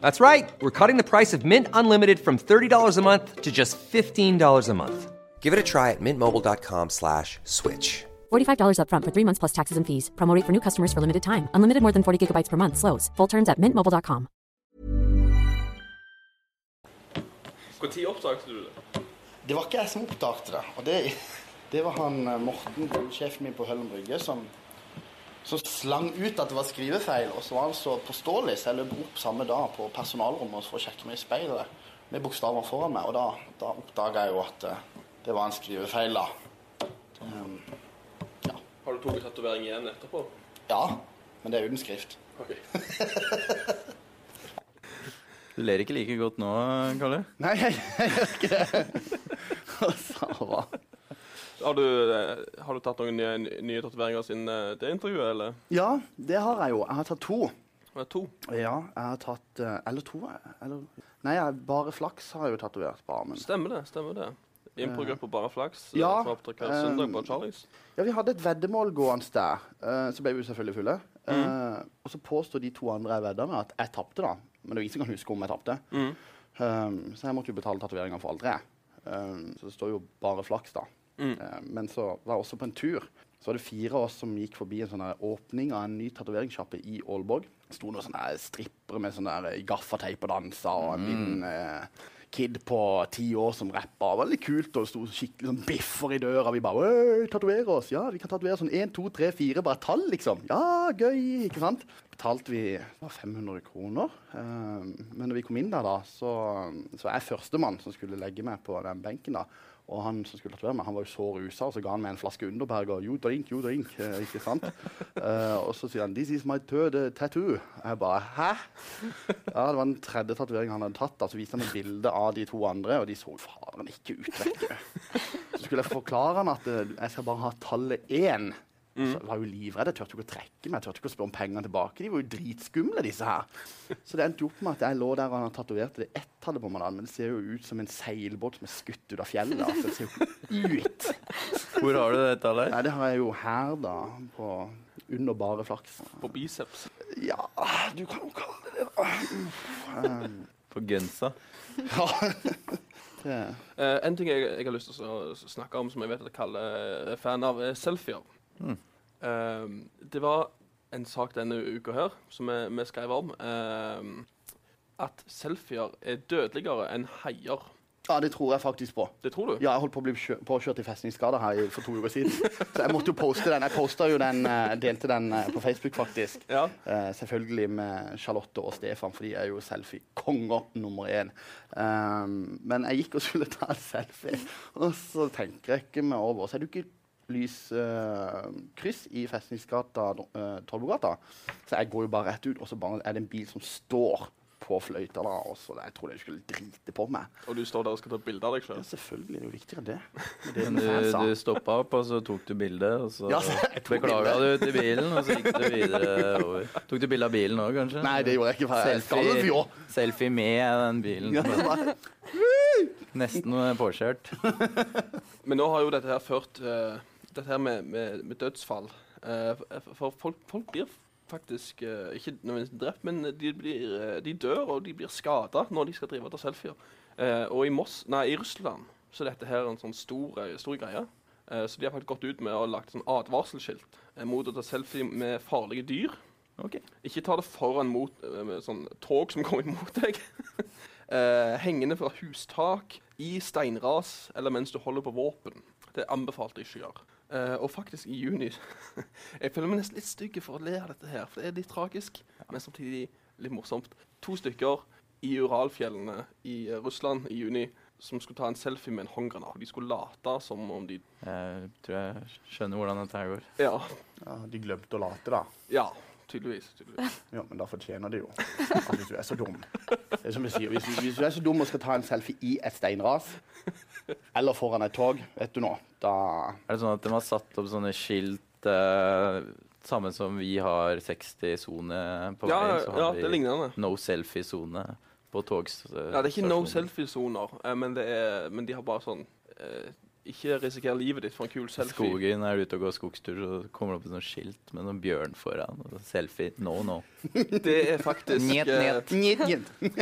Speaker 9: That's right. We're cutting the price of Mint Unlimited from $30 a month to just $15 a month. Give it a try at mintmobile.com slash switch.
Speaker 11: $45 upfront for three months plus taxes and fees. Promo rate for new customers for limited time. Unlimited more than 40 gigabytes per month. Slows. Full terms at mintmobile.com.
Speaker 1: Når oppdaget du det?
Speaker 3: Det var ikke jeg som oppdaget det. Og det, det var han eh, Morten, sjefen min på Høllum Brygge, som, som slang ut at det var skrivefeil. Og så var han så påståelig, så jeg løp opp samme dag på personalrommet for å sjekke meg i speilet med bokstavene foran meg, og da, da oppdaga jeg jo at eh, det var en skrivefeil, da. Um,
Speaker 1: Har du tatt tatovering igjen etterpå?
Speaker 3: ja, men det er uten skrift.
Speaker 1: Ok.
Speaker 2: Du ler ikke like godt nå, Kalle.
Speaker 3: Nei, jeg, jeg gjør ikke det. Hva sa han?
Speaker 1: Har du, eh, har du tatt noen nye, nye tatoveringer siden eh, det intervjuet, eller?
Speaker 3: Ja, det har jeg jo. Jeg har tatt to.
Speaker 1: Det er to.
Speaker 3: Ja, jeg har tatt eh, Eller to, jeg- eller Nei, jeg, bare flaks har jeg jo tatovert på armen.
Speaker 1: Stemmer det. stemmer det. Improgruppa Bare Flaks eh,
Speaker 3: Ja,
Speaker 1: som opptrådte hver søndag på
Speaker 3: ehm,
Speaker 1: Charlies.
Speaker 3: Ja, vi hadde et veddemål gående der. eh, så ble vi jo selvfølgelig fulle. Eh, og så påstod de to andre jeg vedda med, at jeg tapte, da. Men det er jo ingen som kan huske om jeg tapte. Um, så jeg måtte jo betale tatoveringene for alle tre. Um, så det står jo bare flaks, da. Eh, men så var jeg også på en tur. Så var det fire av oss som gikk forbi en sånn her åpning av en ny tatoveringssjappe i Aalborg. Det sto noen sånne her strippere med sånn der gaffateip og dansa, og en liten eh, kid på ti år som rappa. Det var litt kult, og det sto skikkelig sånn biffer i døra. Vi bare «Øy, tatoverer oss! Ja, vi kan tatovere sånn én, to, tre, fire, bare tall, liksom. Ja, gøy! Ikke sant? Betalte vi det var 500 kroner. Eh, men når vi kom inn der, da, så, så var jeg førstemann som skulle legge meg på den benken. da. Og han som skulle tatovere meg, han var jo så rusa, og så ga han meg en flaske Underberg og you drink, you drink. eh, ikke sant? Eh, og så sier han 'This is my third eh, tattoo'. Jeg bare 'hæ?' Ja, Det var den tredje tatoveringen han hadde tatt. da, Så viste han et bilde av de to andre, og de så faen ikke ut. vet du. Så skulle jeg forklare han at eh, jeg skal bare ha tallet én. Så jeg var jo livredd. Jeg turte jo ikke å trekke meg, jeg turte ikke å spørre om pengene tilbake. De var jo dritskumle, disse her. Så det endte jo opp med at jeg lå der og han tatoverte det ett tallet på meg. da, Men det ser jo ut som en seilbåt som er skutt ut av fjellet. Altså, det ser jo ut.
Speaker 2: Hvor har du det tallet?
Speaker 3: Nei, det har jeg jo her, da. På under bare flaks.
Speaker 1: På biceps.
Speaker 3: Ja, du kan jo kalle det det. da.
Speaker 2: På gensa.
Speaker 3: det.
Speaker 1: Eh, en ting jeg, jeg har lyst til å s- snakke om, som jeg vet at Kalle er fan av, er selfier. Mm. Eh, det var en sak denne uka her som vi, vi skrev om, eh, at selfier er dødeligere enn haier.
Speaker 3: Ja, det tror jeg faktisk på.
Speaker 1: Det tror du?
Speaker 3: Ja, jeg holdt på å bli kjø påkjørt i festningsskader her i- for to uker siden. Så jeg måtte jo poste den. Jeg posta jo den, eh, delte den eh, på Facebook, faktisk.
Speaker 1: Ja.
Speaker 3: Eh, selvfølgelig med Charlotte og Stefan, for de er jo selfie-konger nummer én. Ehm, men jeg gikk og skulle ta en selfie, og så tenker jeg ikke meg over. Så er det jo ikke lyskryss i eh, Festningsgata, uh, Tollbugata. Så jeg går jo bare rett ut, og så bare er det en bil som står på fløyta, da, og så jeg trodde jeg skulle drite på meg.
Speaker 1: Og du står der og skal ta bilde av deg
Speaker 3: Ja,
Speaker 1: sjøl?
Speaker 3: selvfølgelig er det jo viktigere enn det. Det er det
Speaker 2: Men
Speaker 3: som er
Speaker 2: du,
Speaker 3: sant.
Speaker 2: du stoppa opp, og så tok du bilde, og så
Speaker 3: Ja, så jeg tok
Speaker 2: beklaga du
Speaker 3: bildet.
Speaker 2: til bilen, og så gikk du videre over. Tok du bilde av bilen òg, kanskje?
Speaker 3: Nei, det gjorde jeg ikke. for Jeg skalv jo.
Speaker 2: Selfie, selfie med den bilen.
Speaker 3: Ja, det var-
Speaker 2: Nesten påkjørt.
Speaker 1: Men nå har jo dette her ført eh, Dette her med, med, med dødsfall eh, f- For folk, folk blir faktisk eh, ikke nødvendigvis drept, men de, blir, eh, de dør og de blir skada når de skal drive og ta selfier. Eh, og i Moss, nei, i Russland så er dette her en sånn stor, eh, stor greie. Eh, så de har faktisk gått ut med å lagt sånn advarselskilt eh, mot å ta selfie med farlige dyr.
Speaker 2: Ok.
Speaker 1: Ikke ta det foran mot eh, med sånn tog som kommer imot deg. Eh, hengende fra hustak, i steinras eller mens du holder på våpen. Det anbefalte jeg ikke å gjøre. Eh, og faktisk, i juni Jeg føler meg nesten litt stygg for å le av dette her, for det er litt tragisk, men samtidig litt morsomt. To stykker i Uralfjellene i eh, Russland i juni som skulle ta en selfie med en håndgranat. De skulle late som om de
Speaker 2: Jeg tror jeg skjønner hvordan dette her går.
Speaker 1: Ja.
Speaker 3: Ja, de glemte å late, da.
Speaker 1: ja tydeligvis. tydeligvis.
Speaker 3: Ja, men da fortjener de jo. Altså, hvis du er så dum. Det er som jeg sier, hvis, hvis du er så dum og skal ta en selfie i et steinras, eller foran et tog, vet du nå, da
Speaker 2: Er det sånn at de har satt opp sånne skilt eh, Samme som vi har 60-sone på
Speaker 1: Ja,
Speaker 2: veien,
Speaker 1: ja, ja, det er lignende.
Speaker 2: no selfie-sone på togs... eh,
Speaker 1: Ja, det er ikke no selfie-soner, eh, men, det er- men de har bare sånn eh, Ikke risiker livet ditt for en kul
Speaker 2: I
Speaker 1: selfie.
Speaker 2: skogen er du ute og går skogstur, så kommer det opp et sånt skilt med noen bjørn foran. Og så selfie. No, no.
Speaker 1: Det er faktisk
Speaker 2: Njet,
Speaker 1: eh,
Speaker 2: njet.
Speaker 3: Njet, njet.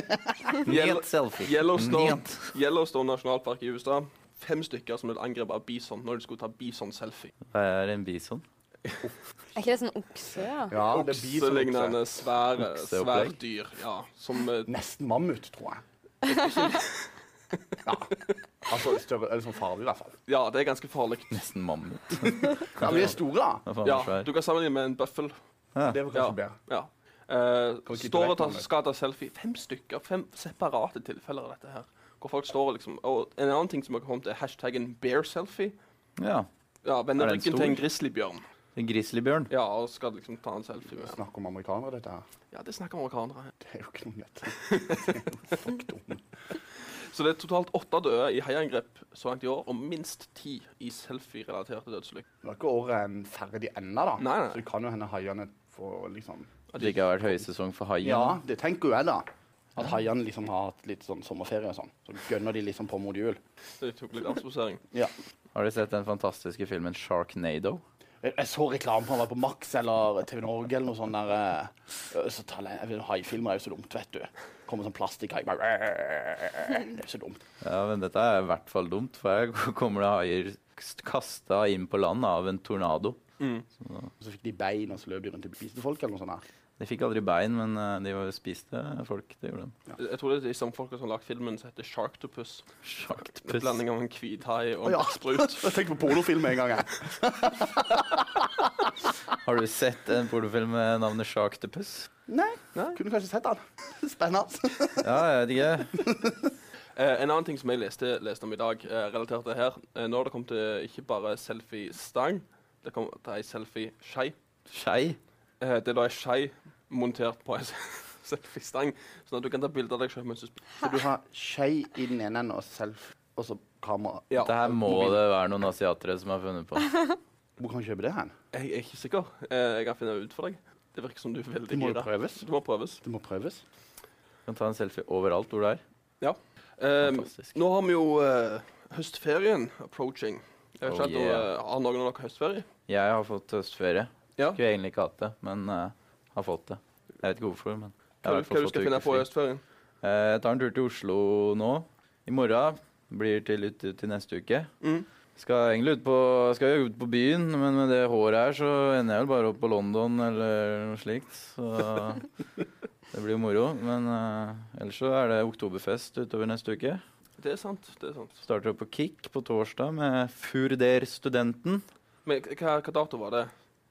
Speaker 1: Yellow-
Speaker 2: Njet selfie.
Speaker 1: Yellowstone,
Speaker 2: Njet.
Speaker 1: Yellowstone nasjonalpark i USA. Fem stykker som ble angrepet av bison når de skulle ta bison-selfie.
Speaker 2: Hva er en bison?
Speaker 4: Er ikke det sånn okse? Ja?
Speaker 3: Ja, det blir sånn
Speaker 1: Okselignende svære,
Speaker 2: Okseopplegg.
Speaker 1: svære dyr. Ja, som eh,
Speaker 3: Nesten mammut, tror jeg. Ja. Altså større, eller sånn farlig, i hvert fall.
Speaker 1: Ja, det er ganske farlig.
Speaker 2: Nesten mammut.
Speaker 3: Ja, men de er store, da.
Speaker 2: Hva faen
Speaker 1: Ja,
Speaker 2: er svær?
Speaker 1: du kan sammenligne med en bøffel.
Speaker 3: Det var
Speaker 1: Ja.
Speaker 3: kanskje bedre.
Speaker 1: ja. Eh,
Speaker 3: Kan ikke
Speaker 1: står og
Speaker 3: direkt
Speaker 1: tar
Speaker 3: noe.
Speaker 1: skal ta selfie. Fem stykker. Fem separate tilfeller av dette her. Hvor folk står og liksom Og en annen ting som har kommet, er hashtaggen bearselfie.
Speaker 2: Ja.
Speaker 1: Ja,
Speaker 2: Er
Speaker 1: Vender
Speaker 2: den
Speaker 1: ryggen
Speaker 2: stor?
Speaker 1: til en grizzlybjørn.
Speaker 2: En grizzlybjørn.
Speaker 1: Ja, og skal liksom ta en selfie med
Speaker 3: Snakk om amerikanere, dette her.
Speaker 1: Ja, det snakker amerikanere.
Speaker 3: Det er jo ikke noe nytt.
Speaker 1: Så det er totalt åtte døde i heiangrep så langt i år, og minst ti i selfie-relaterte dødsulykker.
Speaker 3: Det var ikke året en ferdig ennå, da.
Speaker 1: Nei, nei.
Speaker 3: Så det kan jo hende haiene får liksom
Speaker 2: At det ikke har vært høysesong for haien.
Speaker 3: Ja, det tenker jo jeg, da. At haiene liksom har hatt litt sånn sommerferie og sånn. Så gønner de liksom på mot jul.
Speaker 1: Så de tok litt avsposering.
Speaker 3: Ja.
Speaker 2: Har du sett den fantastiske filmen Sharknado?
Speaker 3: Jeg, jeg så reklame på han var på Max eller TV Norge eller noe sånt der. eh, Så tar jeg- jeg vet, Haifilmer er jo så dumt, vet du. Kommer sånn plastikkhai. bare, Det er jo så dumt.
Speaker 2: Ja, men dette er i hvert fall dumt, for her kommer det haier kasta inn på land av en tornado.
Speaker 3: Så fikk de bein, og så løp de rundt og spiste folk eller noe sånt. der.
Speaker 2: De fikk aldri bein, men eh, de var- spiste folk. Det gjorde de.
Speaker 1: Jeg tror det er de samme folka som har lagt filmen som heter Sharktopus. En
Speaker 2: Sharktopus.
Speaker 1: blanding av en hvithai og en
Speaker 3: Å, ja.
Speaker 1: sprut.
Speaker 3: Jeg tenkte på pornofilm med en gang, jeg.
Speaker 2: Har du sett en pornofilm med navnet Sharktopus?
Speaker 3: Nei,
Speaker 1: Nei.
Speaker 3: kunne kanskje sett han. Spennende.
Speaker 2: Ja, jeg vet ikke.
Speaker 1: Eh, en annen ting som jeg leste, leste om i dag, eh, relatert til det her eh, Nå har det kommet til ikke bare selfie-stang, det kom til ei selfie-skei.
Speaker 2: Skei.
Speaker 1: Eh, det er da ei skei montert på ei selfie-stang, sånn at du kan ta bilde av deg sjøl mens du spiller.
Speaker 3: Så du har skei i den ene enden og self, og så kamera.
Speaker 1: Ja,
Speaker 2: Dette her må det være noen asiatere som har funnet på.
Speaker 3: Hvor kan du kjøpe det hen?
Speaker 1: jeg er ikke sikker. Eh, jeg kan finne ut for deg. Det virker som du er veldig
Speaker 3: Det må jo
Speaker 1: gira.
Speaker 3: prøves.
Speaker 1: Det må prøves.
Speaker 3: Det må prøves.
Speaker 2: Du kan ta en selfie overalt hvor du er.
Speaker 1: Eh,
Speaker 2: Fantastisk.
Speaker 1: nå har vi jo eh, høstferien approaching. Jeg vet
Speaker 2: Oh,
Speaker 1: ikke om
Speaker 2: yeah.
Speaker 1: dere- Har noen av dere høstferie?
Speaker 2: Jeg har fått høstferie.
Speaker 1: Ja.
Speaker 2: Skulle egentlig ikke hatt det, men eh, har fått det. Jeg vet ikke hvorfor, men jeg
Speaker 1: Hva,
Speaker 2: har i
Speaker 1: hva
Speaker 2: hvert fall
Speaker 1: du
Speaker 2: fått
Speaker 1: skal finne
Speaker 2: uker
Speaker 1: på i
Speaker 2: fri.
Speaker 1: høstferien?
Speaker 2: Eh, Jeg tar en tur til Oslo nå. I morgen blir til ut til neste uke.
Speaker 1: Mm.
Speaker 2: Skal egentlig ut på, skal jo ut på byen, men med det håret her så ender jeg vel bare opp på London eller noe slikt. Så det blir jo moro. Men eh, ellers så er det oktoberfest utover neste uke.
Speaker 1: Det er sant. det er sant.
Speaker 2: Starter opp på Kick på torsdag med Furder-studenten.
Speaker 1: Men k- hva, hva dato var det?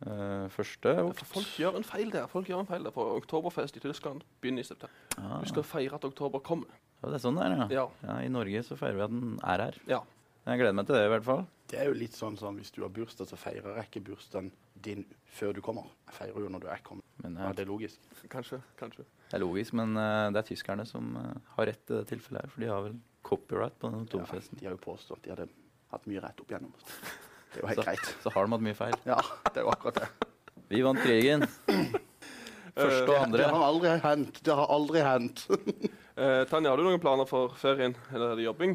Speaker 2: Eh, Første
Speaker 1: Ja, for folk
Speaker 2: okt.
Speaker 1: gjør en feil der. Folk gjør en feil der. For oktoberfest i Tyskland begynner i september.
Speaker 2: Ah,
Speaker 1: Du skal feire at oktober kommer.
Speaker 2: ja, det er sånn det er, ja.
Speaker 1: Ja.
Speaker 2: ja. I Norge så feirer vi at den er her.
Speaker 1: ja.
Speaker 2: Jeg gleder meg til det, i hvert fall.
Speaker 3: Det er jo litt sånn sånn, hvis du har bursdag, så feirer jeg ikke bursdagen din før du kommer. Jeg feirer jo når du er kommet.
Speaker 2: Men, eh,
Speaker 3: ja, det er logisk.
Speaker 1: Kanskje. kanskje.
Speaker 2: Det er logisk, men eh, det er tyskerne som eh, har rett i det tilfellet her. For de har vel copyright på den oktoberfesten.
Speaker 3: de har jo påstått de hadde hatt mye rett opp igjennom. Det er jo helt
Speaker 2: så,
Speaker 3: greit.
Speaker 2: Så har de hatt mye feil.
Speaker 3: Ja, det er jo akkurat det.
Speaker 2: Vi vant krigen. Første og
Speaker 3: Det
Speaker 2: andre.
Speaker 3: har aldri hendt. Det har aldri hendt.
Speaker 1: Eh, Tanja, har du noen planer for ferien? Eller er det jobbing?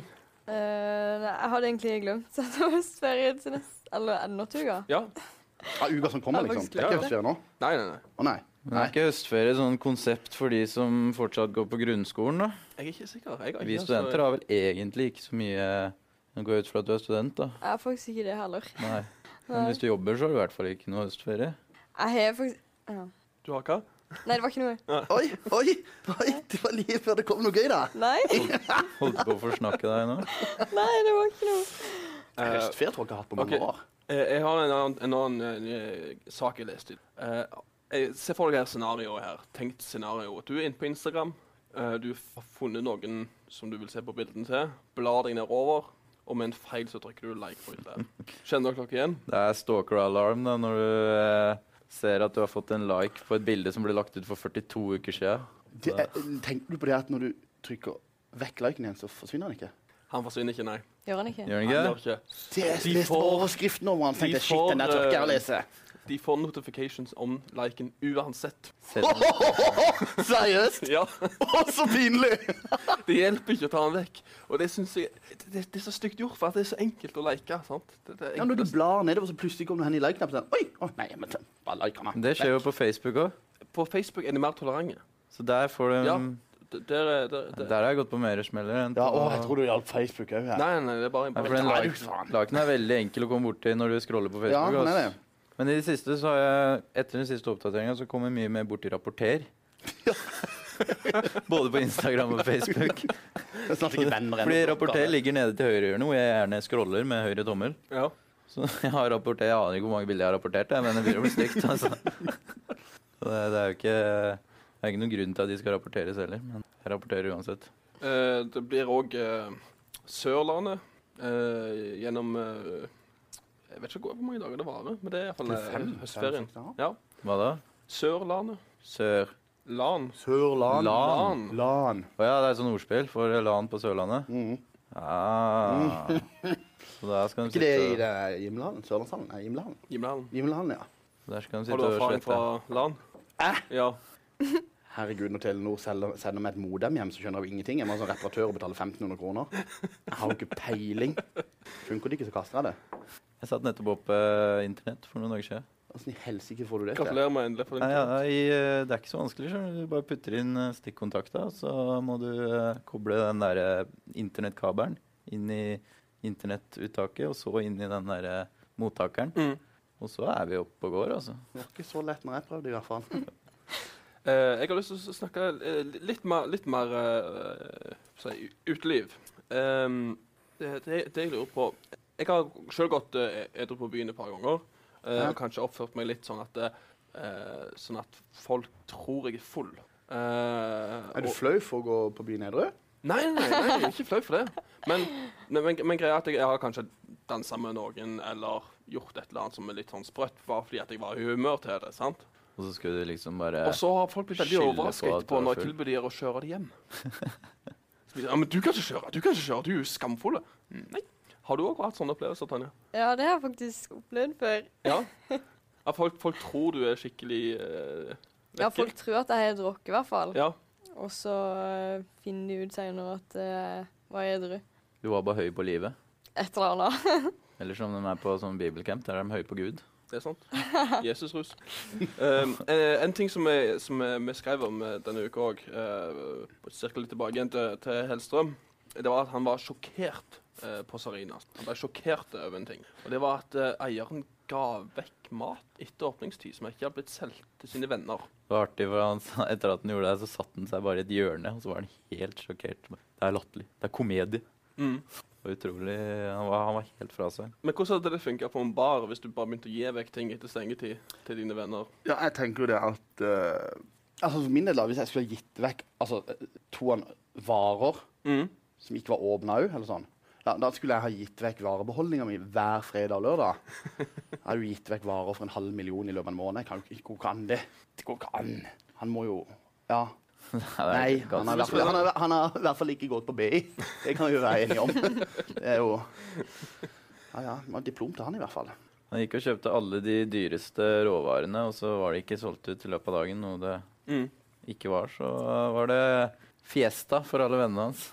Speaker 4: Eh, nei, jeg hadde egentlig glemt at det var høstferie til neste Eller er det nå til uka?
Speaker 1: Ja.
Speaker 3: Ja, uka som kommer,
Speaker 4: Ja,
Speaker 3: liksom.
Speaker 4: faktisk
Speaker 3: Det er
Speaker 4: litt.
Speaker 3: ikke høstferie nå.
Speaker 1: Nei, nei, nei.
Speaker 3: Å nei.
Speaker 2: Men er ikke høstferie sånn konsept for de som fortsatt går på grunnskolen, da?
Speaker 1: Jeg er ikke sikker. Jeg har
Speaker 2: Vi
Speaker 1: ikke,
Speaker 2: studenter har vel egentlig ikke så mye Nå går jeg ut fra at du er student, da.
Speaker 4: Jeg har faktisk ikke det heller.
Speaker 2: Nei. Men
Speaker 4: Nei.
Speaker 2: hvis du jobber, så har du i hvert fall ikke noe høstferie.
Speaker 4: Jeg har faktisk ja.
Speaker 1: Du har hva?
Speaker 4: Nei, det var ikke noe.
Speaker 3: Oi, oi, oi! Det var like før det kom noe gøy, da.
Speaker 4: Nei,
Speaker 2: Holdt på å forsnakke deg nå.
Speaker 4: nei, det var ikke noe.
Speaker 1: Eh,
Speaker 3: Høstferie tror jeg ikke jeg har hatt på mange
Speaker 1: ok.
Speaker 3: år.
Speaker 1: Eh, jeg har en annen, en annen eh, sak jeg leste. Eh, jeg- se for deg her scenarioet her. Tenkt scenario. Du er inne på Instagram. Eh, du har funnet noen som du vil se på bildene til. Blar deg nedover, og med en feil så trykker du like på bildet. Kjenner dere dere igjen?
Speaker 2: Det er stalker-alarm da, når du eh, ser at du har fått en like på et bilde som ble lagt ut for 42 uker siden.
Speaker 3: Det er, eh, tenker du på det at når du trykker vekk liken igjen, så forsvinner den ikke?
Speaker 1: Han forsvinner ikke, nei.
Speaker 4: Gjør han ikke?
Speaker 2: Gjør
Speaker 1: Han
Speaker 2: den ikke?
Speaker 1: gjør ikke.
Speaker 3: Det er
Speaker 1: De
Speaker 3: lest
Speaker 1: får-
Speaker 3: overskriften over den.
Speaker 1: de
Speaker 3: Tenkte jeg, shit,
Speaker 1: får,
Speaker 3: den der tør ikke
Speaker 1: eh,
Speaker 3: jeg lese.
Speaker 1: De får notifications om liken uansett.
Speaker 2: Selv om-
Speaker 3: Seriøst?
Speaker 1: Ja,
Speaker 3: Å, så pinlig!
Speaker 1: Det hjelper ikke å ta den vekk. Og det synes jeg det, det, det er så stygt gjort, for at det er så enkelt å like. sant? Det, det er
Speaker 3: Ja, når du
Speaker 1: enklest.
Speaker 3: blar nedover, så plutselig kommer du hen i like-knappen. sånn, Oi! Å, nei, men den- bare like meg.
Speaker 2: Det skjer jo på Facebook òg,
Speaker 1: På Facebook er de mer tolerante.
Speaker 2: så der får du
Speaker 1: Ja, D- Der, er- der, der.
Speaker 2: Der har jeg gått på mer smeller. enn
Speaker 3: Ja,
Speaker 2: på-
Speaker 3: å, jeg tror det gjaldt Facebook òg.
Speaker 1: Nei, nei, det er bare,
Speaker 2: Nei,
Speaker 1: bare
Speaker 2: for den
Speaker 3: Nei,
Speaker 2: like,
Speaker 3: faen.
Speaker 2: liken er veldig enkel å komme bort til når du scroller på
Speaker 3: Ja,
Speaker 2: Facebook.
Speaker 3: den er
Speaker 2: ass. Men i det siste så har jeg, etter den siste oppdateringa så kommer jeg mye mer borti rapporter. Både på Instagram og Facebook.
Speaker 3: Det er snart ikke venner
Speaker 2: Fordi rapporter ligger nede til høyrehjørnet, hvor jeg gjerne scroller med høyre tommel.
Speaker 1: Ja.
Speaker 2: Så jeg har rapportert, jeg aner ikke hvor mange bilder jeg har rapportert, jeg, men det begynner å bli stygt. Altså. Så Det, det er jo ikke, det er ikke noen grunn til at de skal rapporteres heller, men jeg rapporterer uansett.
Speaker 1: Eh, det blir òg Sørlandet eh, gjennom eh, Jeg vet ikke hvor mange dager det varer, men det er iallfall
Speaker 3: Fem,
Speaker 1: eh, høstferien.
Speaker 3: fem, seks dager.
Speaker 1: Ja.
Speaker 2: Hva da?
Speaker 1: Sørlandet.
Speaker 2: Sør...
Speaker 1: Lan.
Speaker 2: Lan.
Speaker 3: Sørland.
Speaker 1: Lan.
Speaker 3: Lan.
Speaker 2: Å ja, det er et sånn ordspill for LAN på Sørlandet?
Speaker 3: Mhm.
Speaker 2: Ah. Så der skal de
Speaker 3: Ikke det i
Speaker 2: sitte og,
Speaker 3: det Himmelhallen? Sørlandshallen? Nei, Himmelhallen.
Speaker 1: Gimlehallen.
Speaker 3: Himmelhallen, ja.
Speaker 2: der skal de
Speaker 1: Har du
Speaker 2: sitte og
Speaker 1: erfaring
Speaker 2: slette.
Speaker 1: fra Lan? Ja.
Speaker 3: Herregud, når Telenor selger, sender meg et modem hjem, så skjønner jeg jo ingenting. Jeg må ha sånn reparatør og betale 1500 kroner. Jeg har jo ikke peiling. Funker det ikke, så kaster jeg det.
Speaker 2: Jeg satt nettopp opp eh, internett for noen dager siden.
Speaker 3: Åssen i helsike får du det til?
Speaker 1: Gratulerer med endelig for
Speaker 2: Nei,
Speaker 1: den.
Speaker 2: ja, i, eh, det er ikke så vanskelig. skjønner Du Du bare putter inn eh, stikkontakta, og så må du eh, koble den der eh, internettkabelen inn i internettuttaket, og så inn i den der eh, mottakeren.
Speaker 1: Mm.
Speaker 2: Og så er vi oppe og går, altså.
Speaker 3: Det var ikke så lett når jeg prøvde, i hvert fall.
Speaker 1: Eh, jeg har lyst til å s- snakke eh, li- litt mer, litt mer eh, si, uteliv. Ehm, det, det, det jeg lurer på Jeg har sjøl gått eh, edru på byen et par ganger. eh,
Speaker 3: Ja.
Speaker 1: Og kanskje oppført meg litt sånn at, eh, sånn at folk tror jeg er full. Eh,
Speaker 3: Er du
Speaker 1: og-
Speaker 3: flau for å gå på byen edru?
Speaker 1: Nei, nei, nei, jeg er ikke flau for det. Men, men, men, men greia er at jeg, jeg har kanskje dansa med noen eller gjort et eller annet som er litt sånn sprøtt, bare fordi at jeg var i humør til det. sant?
Speaker 2: Og så skulle du liksom bare
Speaker 1: Og så har folk blitt veldig
Speaker 2: skylder på
Speaker 1: overrasket
Speaker 2: at du
Speaker 1: etterpå
Speaker 2: er
Speaker 1: når jeg
Speaker 2: full.
Speaker 1: tilbyr dem å kjøre dem hjem. Så blir de, ja, men du kan ikke kjøre, du kan ikke kjøre, du er jo skamfull. Nei. Har du òg hatt sånne opplevelser, Tanja?
Speaker 4: Ja, det har jeg faktisk opplevd før.
Speaker 1: Ja. ja folk, folk tror du er skikkelig eh,
Speaker 4: Ja,
Speaker 1: vekke.
Speaker 4: folk tror at jeg er drukket, i hvert fall.
Speaker 1: Ja.
Speaker 4: Og så eh, finner de ut senere at eh, jeg var edru.
Speaker 2: Du var bare høy på livet.
Speaker 4: Et eller annet.
Speaker 2: Eller som de er på sånn bibelcamp, der er de høye på Gud.
Speaker 1: Det er sant. Jesusrus. Um, eh, en ting som, jeg, som jeg, vi skrev om eh, denne uka òg, uh, cirka litt tilbake igjen til, til Hellstrøm, det var at han var sjokkert eh, på Sarina. Han ble sjokkert over en ting. Og det var at eh, eieren ga vekk mat etter åpningstid som ikke hadde blitt solgt til sine venner.
Speaker 2: Det var artig, for han, sa- Etter at han gjorde det, så satte han seg bare i et hjørne, og så var han helt sjokkert. Det er latterlig. Det er komedie. Det var utrolig Han var, han var helt fra seg.
Speaker 1: Men hvordan hadde det funka på en bar hvis du bare begynte å gi vekk ting etter stengetid til dine venner?
Speaker 3: Ja, jeg tenker jo det at eh, Altså, For min del, da, hvis jeg skulle Mm. ha gitt vekk altså, eh, to an- varer som ikke var åpna òg, eller sånn Ja, Da, da skulle jeg ha gitt vekk varebeholdninga mi hver fredag og lørdag. Jeg har jo gitt vekk varer for en halv million i løpet av en måned. Jeg kan jo ikke, Hvor kan det? Det går ikke an. Han må jo Ja. Nei,
Speaker 2: ikke
Speaker 3: han
Speaker 2: godt.
Speaker 3: har, i hvert fall, han, har, han har i hvert fall ikke gått på BI. Det kan vi jo være enige om. Det er jo Ja, ja. det var Diplom til han, i hvert fall.
Speaker 2: Han gikk og kjøpte alle de dyreste råvarene, og så var det ikke solgt ut i løpet av dagen, noe det
Speaker 1: Mm.
Speaker 2: ikke var. Så var det fiesta for alle vennene hans.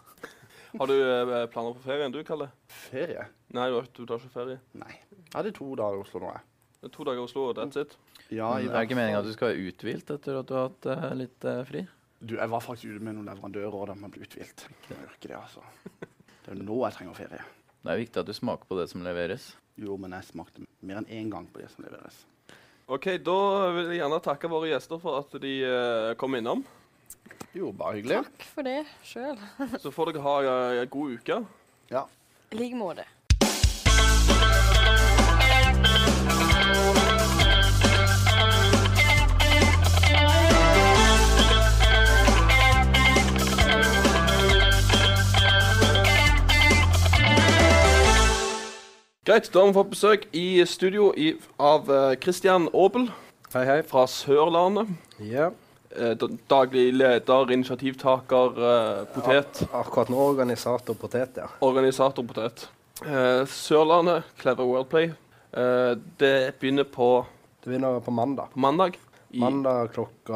Speaker 1: Har du eh, planer på ferien, du, Kalle?
Speaker 3: Ferie?
Speaker 1: Nei, du, har- du tar ikke ferie.
Speaker 3: Nei. Jeg hadde to dager i Oslo nå, jeg.
Speaker 1: Det er to dager i Oslo, og that's it.
Speaker 3: Ja, i
Speaker 2: Men er det
Speaker 3: hvert
Speaker 2: ikke meninga
Speaker 3: fall.
Speaker 2: at du skal være uthvilt etter at du har hatt eh, litt eh, fri?
Speaker 3: Du, jeg var faktisk ute med noen leverandører, og de hadde blitt uthvilt. Jeg gjør ikke det, altså. Det er jo nå jeg trenger ferie.
Speaker 2: Det er viktig at du smaker på det som leveres.
Speaker 3: Jo, men jeg smakte mer enn én gang på det som leveres.
Speaker 1: OK, da vil jeg gjerne takke våre gjester for at de eh, kom innom.
Speaker 3: Jo, bare hyggelig.
Speaker 4: Takk for det sjøl.
Speaker 1: Så får dere ha eh, en god uke.
Speaker 3: Ja.
Speaker 4: I like måte.
Speaker 1: Greit, da har vi fått besøk i studio i, av eh, Christian Aabel. Hei, hei. Fra Sørlandet.
Speaker 6: Ja.
Speaker 1: Eh, da- daglig leder, initiativtaker, eh, potet.
Speaker 6: Akkurat nå organisator potet, ja.
Speaker 1: Organisator potet. Eh, Sørlandet, Clever Worldplay. Eh, det begynner på
Speaker 6: Det begynner på mandag.
Speaker 1: På mandag? I
Speaker 6: Mandag klokka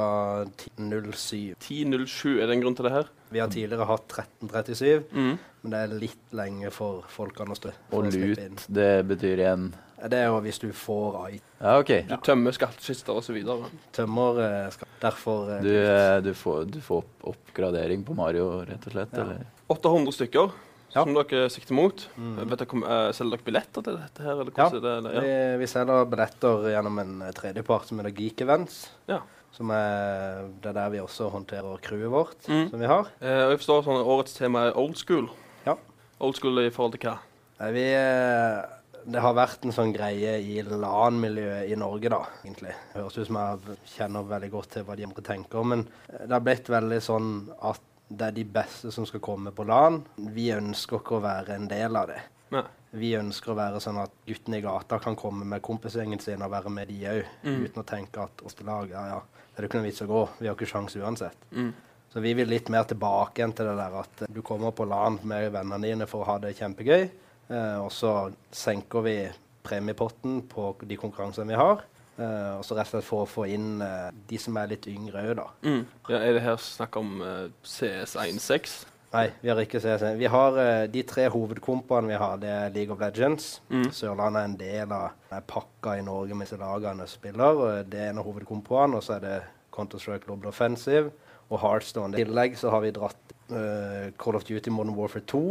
Speaker 6: 10.07.
Speaker 1: 10.07, er det en grunn til det her?
Speaker 6: Vi har tidligere hatt 13.37,
Speaker 1: Mhm.
Speaker 6: men det er litt lenge for folkene å stø- for
Speaker 2: Og
Speaker 6: å slippe inn.
Speaker 2: lut, det betyr igjen
Speaker 6: Det er jo hvis du får AI.
Speaker 2: Ja, OK.
Speaker 1: Du tømmer skattkister osv.
Speaker 6: Tømmer eh, skal derfor eh,
Speaker 2: Du, eh, du får, du får opp- oppgradering på Mario, rett og slett?
Speaker 6: Ja.
Speaker 2: Eller?
Speaker 1: 800 stykker som dere sikter mot.
Speaker 6: Mhm.
Speaker 1: Vet dere, om, eh, selger dere billetter til dette her? Eller
Speaker 6: Ja,
Speaker 1: hvordan er det?
Speaker 6: vi, vi selger billetter gjennom en eh, tredjepart som heter Geek Events.
Speaker 1: Ja.
Speaker 6: Som er, det er der vi også håndterer crewet vårt,
Speaker 1: Mhm.
Speaker 6: som vi har.
Speaker 1: Eh, og jeg forstår sånn at årets tema er old school.
Speaker 6: Ja.
Speaker 1: Old school i forhold til hva?
Speaker 6: Nei, Vi, eh, det har vært en sånn greie i LAN-miljøet i Norge, da, egentlig. Det høres ut som jeg kjenner veldig godt til hva de andre tenker, men det har blitt veldig sånn at det er de beste som skal komme på LAN. Vi ønsker ikke å være en del av det.
Speaker 1: Nei.
Speaker 6: Vi ønsker å være sånn at guttene i gata kan komme med kompisgjengen sin og være med de òg,
Speaker 1: Mm.
Speaker 6: uten å tenke at oss på lag, ja ja, det er det ikke noe vits å gå, vi har ikke sjans uansett.
Speaker 1: Mm.
Speaker 6: Så vi vil litt mer tilbake igjen til det der at eh, du kommer på LAN med vennene dine for å ha det kjempegøy, eh, og så senker vi premiepotten på de konkurransene vi har, eh, og så rett og slett for å få inn eh, de som er litt yngre òg, da.
Speaker 1: Mm. Ja, er det her snakk om eh, CS16?
Speaker 6: Nei, vi har ikke CC. Vi har eh, de tre hovedkompaene vi har, det er League of Legends.
Speaker 1: Mm.
Speaker 6: Sørlandet er en del av denne pakka i Norge med disse lagene som spiller. og Det er en av hovedkompaene, og så er det Counter-Strike Global Offensive og Heartstone. I tillegg så har vi dratt eh, Call of Duty Modern Warfare 2,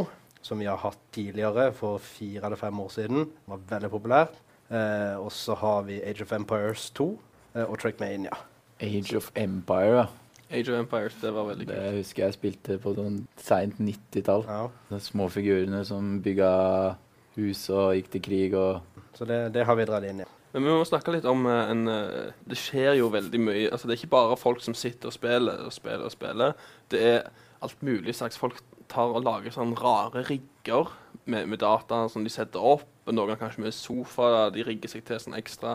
Speaker 6: som vi har hatt tidligere for fire eller fem år siden. Det var veldig populært. Eh, og så har vi Age of Empires 2 eh, og Trackmania.
Speaker 2: Age of Empire, ja.
Speaker 1: Age of Empires, det var veldig
Speaker 2: Det husker jeg spilte på sånn seint 90-tall. De små figurene som bygga hus og gikk til krig og
Speaker 6: Så det, det har vi dratt inn i.
Speaker 1: Men vi må snakke litt om eh, en eh, Det skjer jo veldig mye. Altså, det er ikke bare folk som sitter og spiller og spiller og spiller. Det er alt mulig slags folk tar og lager sånne rare rigger med, med data som de setter opp. og Noen har kanskje med sofa, de rigger seg til sånn ekstra.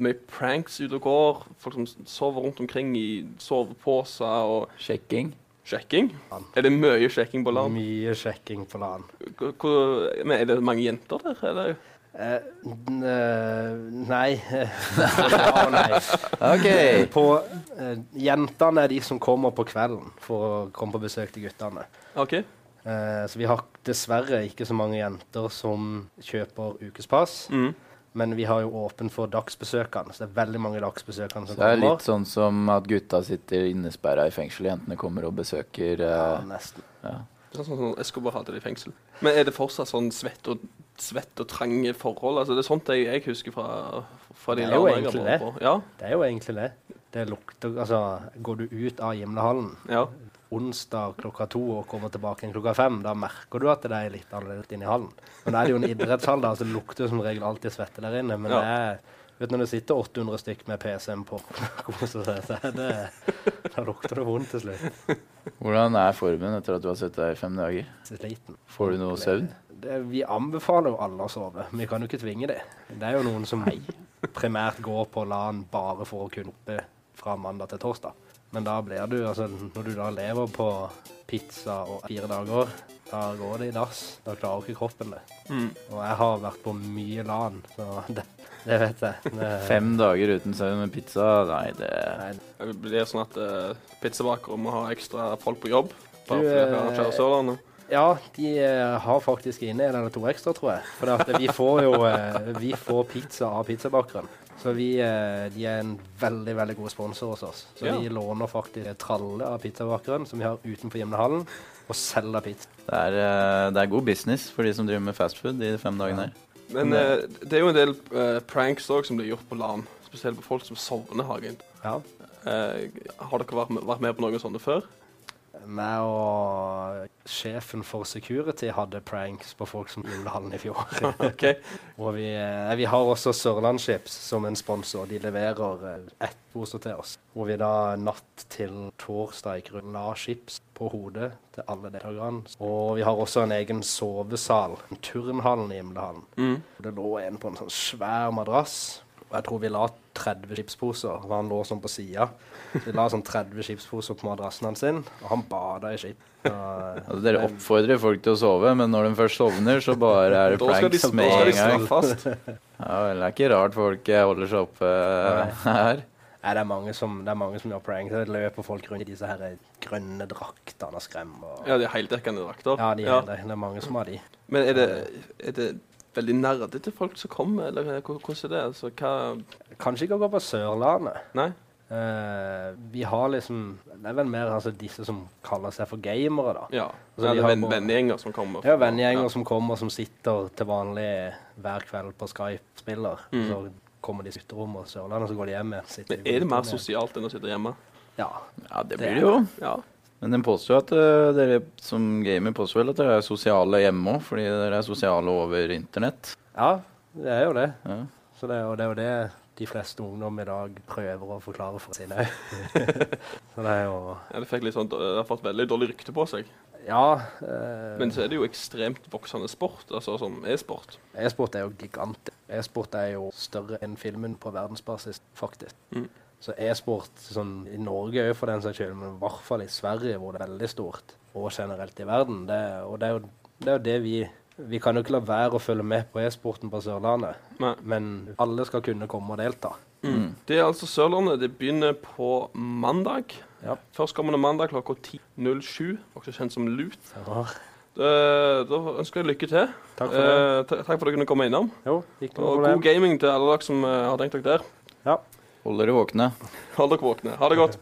Speaker 1: Mye pranks ute og går. Folk som s- sover rundt omkring i soveposer og
Speaker 2: Sjekking.
Speaker 1: Sjekking? Er det mye sjekking på LAN?
Speaker 6: Mye sjekking på LAN.
Speaker 1: Hvor- hvor- Men er det mange jenter der, eller?
Speaker 6: Eh, n- eh, nei. ja og nei.
Speaker 2: Ok.
Speaker 6: På, eh, jentene er de som kommer på kvelden for å komme på besøk til guttene.
Speaker 1: OK.
Speaker 6: Eh, så vi har dessverre ikke så mange jenter som kjøper ukespass.
Speaker 1: Mm.
Speaker 6: Men vi har jo åpen for dagsbesøkende, så det er veldig mange dagsbesøkende som
Speaker 2: Så det er
Speaker 6: kommer.
Speaker 2: litt sånn som at gutta sitter innesperra i fengsel, jentene kommer og besøker
Speaker 6: Ja,
Speaker 2: eh,
Speaker 6: nesten.
Speaker 2: ja.
Speaker 1: Sånn som sånn Escobar hadde det i fengsel. Men er det fortsatt sånn svett og, svett og trange forhold? Altså, det er sånt jeg, jeg husker fra, fra de
Speaker 6: Det er jo
Speaker 1: landene jeg har
Speaker 6: egentlig
Speaker 1: vært
Speaker 6: det.
Speaker 1: på. Ja,
Speaker 6: Det er jo egentlig det. Det lukter Altså, går du ut av Gimlehallen
Speaker 1: ja.
Speaker 6: onsdag klokka to og kommer tilbake igjen klokka fem, da merker du at det er litt annerledes inni hallen. Men da er det jo en idrettshall, da, så det lukter jo som regel alltid svette der inne. Men
Speaker 1: Ja.
Speaker 6: det er Vet du, når det sitter 800 stykk med PC-en på og koser seg, så er det Da lukter det vondt til slutt.
Speaker 2: Hvordan er formen etter at du har sittet der i fem dager?
Speaker 6: Sliten.
Speaker 2: Får du noe søvn?
Speaker 6: Det,
Speaker 12: det, vi anbefaler jo alle å sove. men Vi kan jo ikke tvinge det. Det er jo noen som primært går på LAN bare for å kunne oppe fra mandag til torsdag. Men da blir du, altså når du da lever på pizza og fire dager, da går det i dass. Da klarer ikke kroppen det.
Speaker 1: Mm.
Speaker 12: Og jeg har vært på mye LAN, så det, det vet jeg. Det,
Speaker 2: Fem dager uten søvn med pizza, nei, det
Speaker 1: Det blir sånn at uh, pizzabakere må ha ekstra folk på jobb. Bare
Speaker 12: Du,
Speaker 1: fordi de
Speaker 12: eh,
Speaker 1: arrangerer Sørlandet.
Speaker 12: Ja, de eh, har faktisk inne en eller to ekstra, tror jeg. For at vi får jo eh, vi får pizza av pizzabakeren. Så vi, eh, de er en veldig veldig god sponsor hos oss. Så
Speaker 2: Ja.
Speaker 12: vi låner faktisk en tralle av pizzabakeren som vi har utenfor gymnehallen, og selger pizza.
Speaker 2: Det er, eh, det er god business for de som driver med fastfood de fem dagene her.
Speaker 1: Men eh, det er jo en del eh, pranks òg som blir gjort på LAN. Spesielt på folk som sovner, Hagen.
Speaker 12: Ja.
Speaker 1: Eh, har dere vært med, vært med på noen sånne før?
Speaker 12: Meg og sjefen for security hadde pranks på folk som gymnehallen i fjor.
Speaker 1: Ok.
Speaker 12: og vi, eh, vi har også Sørlandschips som en sponsor. De leverer eh, ett pose til oss. Hvor vi da natt til torsdag gikk rundt, la chips på hodet til alle deltakerne. Og vi har også en egen sovesal, turnhallen i Gimlehallen.
Speaker 1: Mm.
Speaker 12: Det lå en på en sånn svær madrass. Og jeg tror vi la 30 chipsposer. for Han lå sånn på sida. Vi la sånn 30 chipsposer på madrassen hans sin, og han bada i eh, skip.
Speaker 2: Altså, dere oppfordrer folk til å sove, men når de først sovner, så bare er det
Speaker 12: Da skal de-
Speaker 2: pranks
Speaker 12: da
Speaker 2: med
Speaker 12: skal
Speaker 2: en
Speaker 12: de
Speaker 2: gang.
Speaker 12: straffes.
Speaker 2: Ja, vel, det er ikke rart folk eh, holder seg oppe eh, her.
Speaker 12: Nei, det er mange som, det er mange som gjør prank. Det løper folk rundt i disse her eh, grønne draktene og skremmer.
Speaker 1: Ja, de er heldekkende drakter.
Speaker 12: Ja, de er det. Det er mange som har de.
Speaker 1: Men er det, er det veldig nerdete folk som kommer, eller hva- hvordan er det? Altså, hva
Speaker 12: Kanskje ikke å gå på Sørlandet.
Speaker 1: Nei?
Speaker 12: Eh, vi har liksom Det er vel mer altså, disse som kaller seg for gamere, da.
Speaker 1: Ja. Nei,
Speaker 12: Altså, de
Speaker 1: det er
Speaker 12: har
Speaker 1: venn-
Speaker 12: bare-
Speaker 1: vennegjenger som kommer.
Speaker 12: Ja, vennegjenger
Speaker 1: Ja.
Speaker 12: som kommer, som sitter til vanlig hver kveld på Skype, spiller.
Speaker 1: Mm.
Speaker 12: Så kommer de til gutterommet og Sørlandet, og så går de hjem igjen. sitter
Speaker 1: Men
Speaker 12: de på
Speaker 1: er det mer
Speaker 12: gutterommet igjen.
Speaker 1: sosialt enn å sitte hjemme?
Speaker 12: Ja.
Speaker 2: Ja, det
Speaker 12: Det
Speaker 2: blir
Speaker 12: er
Speaker 2: det jo.
Speaker 12: det.
Speaker 1: Ja.
Speaker 2: Men de påstår jo at eh, dere som gamer påstår vel at dere er sosiale hjemme òg, fordi dere er sosiale over internett.
Speaker 12: Ja, det er jo det.
Speaker 2: Ja.
Speaker 12: Så det, er- og det er jo det de fleste ungdom i dag prøver å forklare for sine òg. så det er jo
Speaker 1: Ja, det, fikk litt sånn, det har fått veldig dårlig rykte på seg.
Speaker 12: Ja. eh,
Speaker 1: Men så er det jo ekstremt voksende sport, altså som e-sport.
Speaker 12: E-sport er jo gigant. E-sport er jo større enn filmen på verdensbasis, faktisk.
Speaker 1: Mm.
Speaker 12: Så e-sport sånn, i Norge òg, for den saks skyld, men i hvert fall i Sverige, hvor det er veldig stort, og generelt i verden. Det, og det er jo det, er jo det vi Vi kan jo ikke la være å følge med på e-sporten på Sørlandet,
Speaker 1: Nei.
Speaker 12: men alle skal kunne komme og delta.
Speaker 1: Mm. Det er altså Sørlandet. Det begynner på mandag.
Speaker 12: Ja.
Speaker 1: Førstkommende mandag klokka 10.07, også kjent som LUT.
Speaker 12: Ja.
Speaker 1: Da, da ønsker jeg lykke til.
Speaker 12: Takk for det.
Speaker 1: Eh, ta- takk for at dere kunne komme innom.
Speaker 12: Jo, ikke noe
Speaker 1: Og
Speaker 12: problem.
Speaker 1: god gaming til alle dere som eh, har tenkt dere der.
Speaker 12: Ja.
Speaker 2: Hold dere våkne.
Speaker 1: Hold dere våkne. Ha det godt.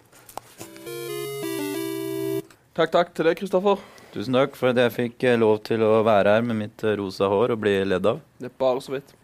Speaker 1: Takk, takk til deg, Kristoffer.
Speaker 2: Tusen takk for at jeg fikk eh, lov til å være her med mitt eh, rosa hår og bli ledd av.
Speaker 1: Det er bare så vidt.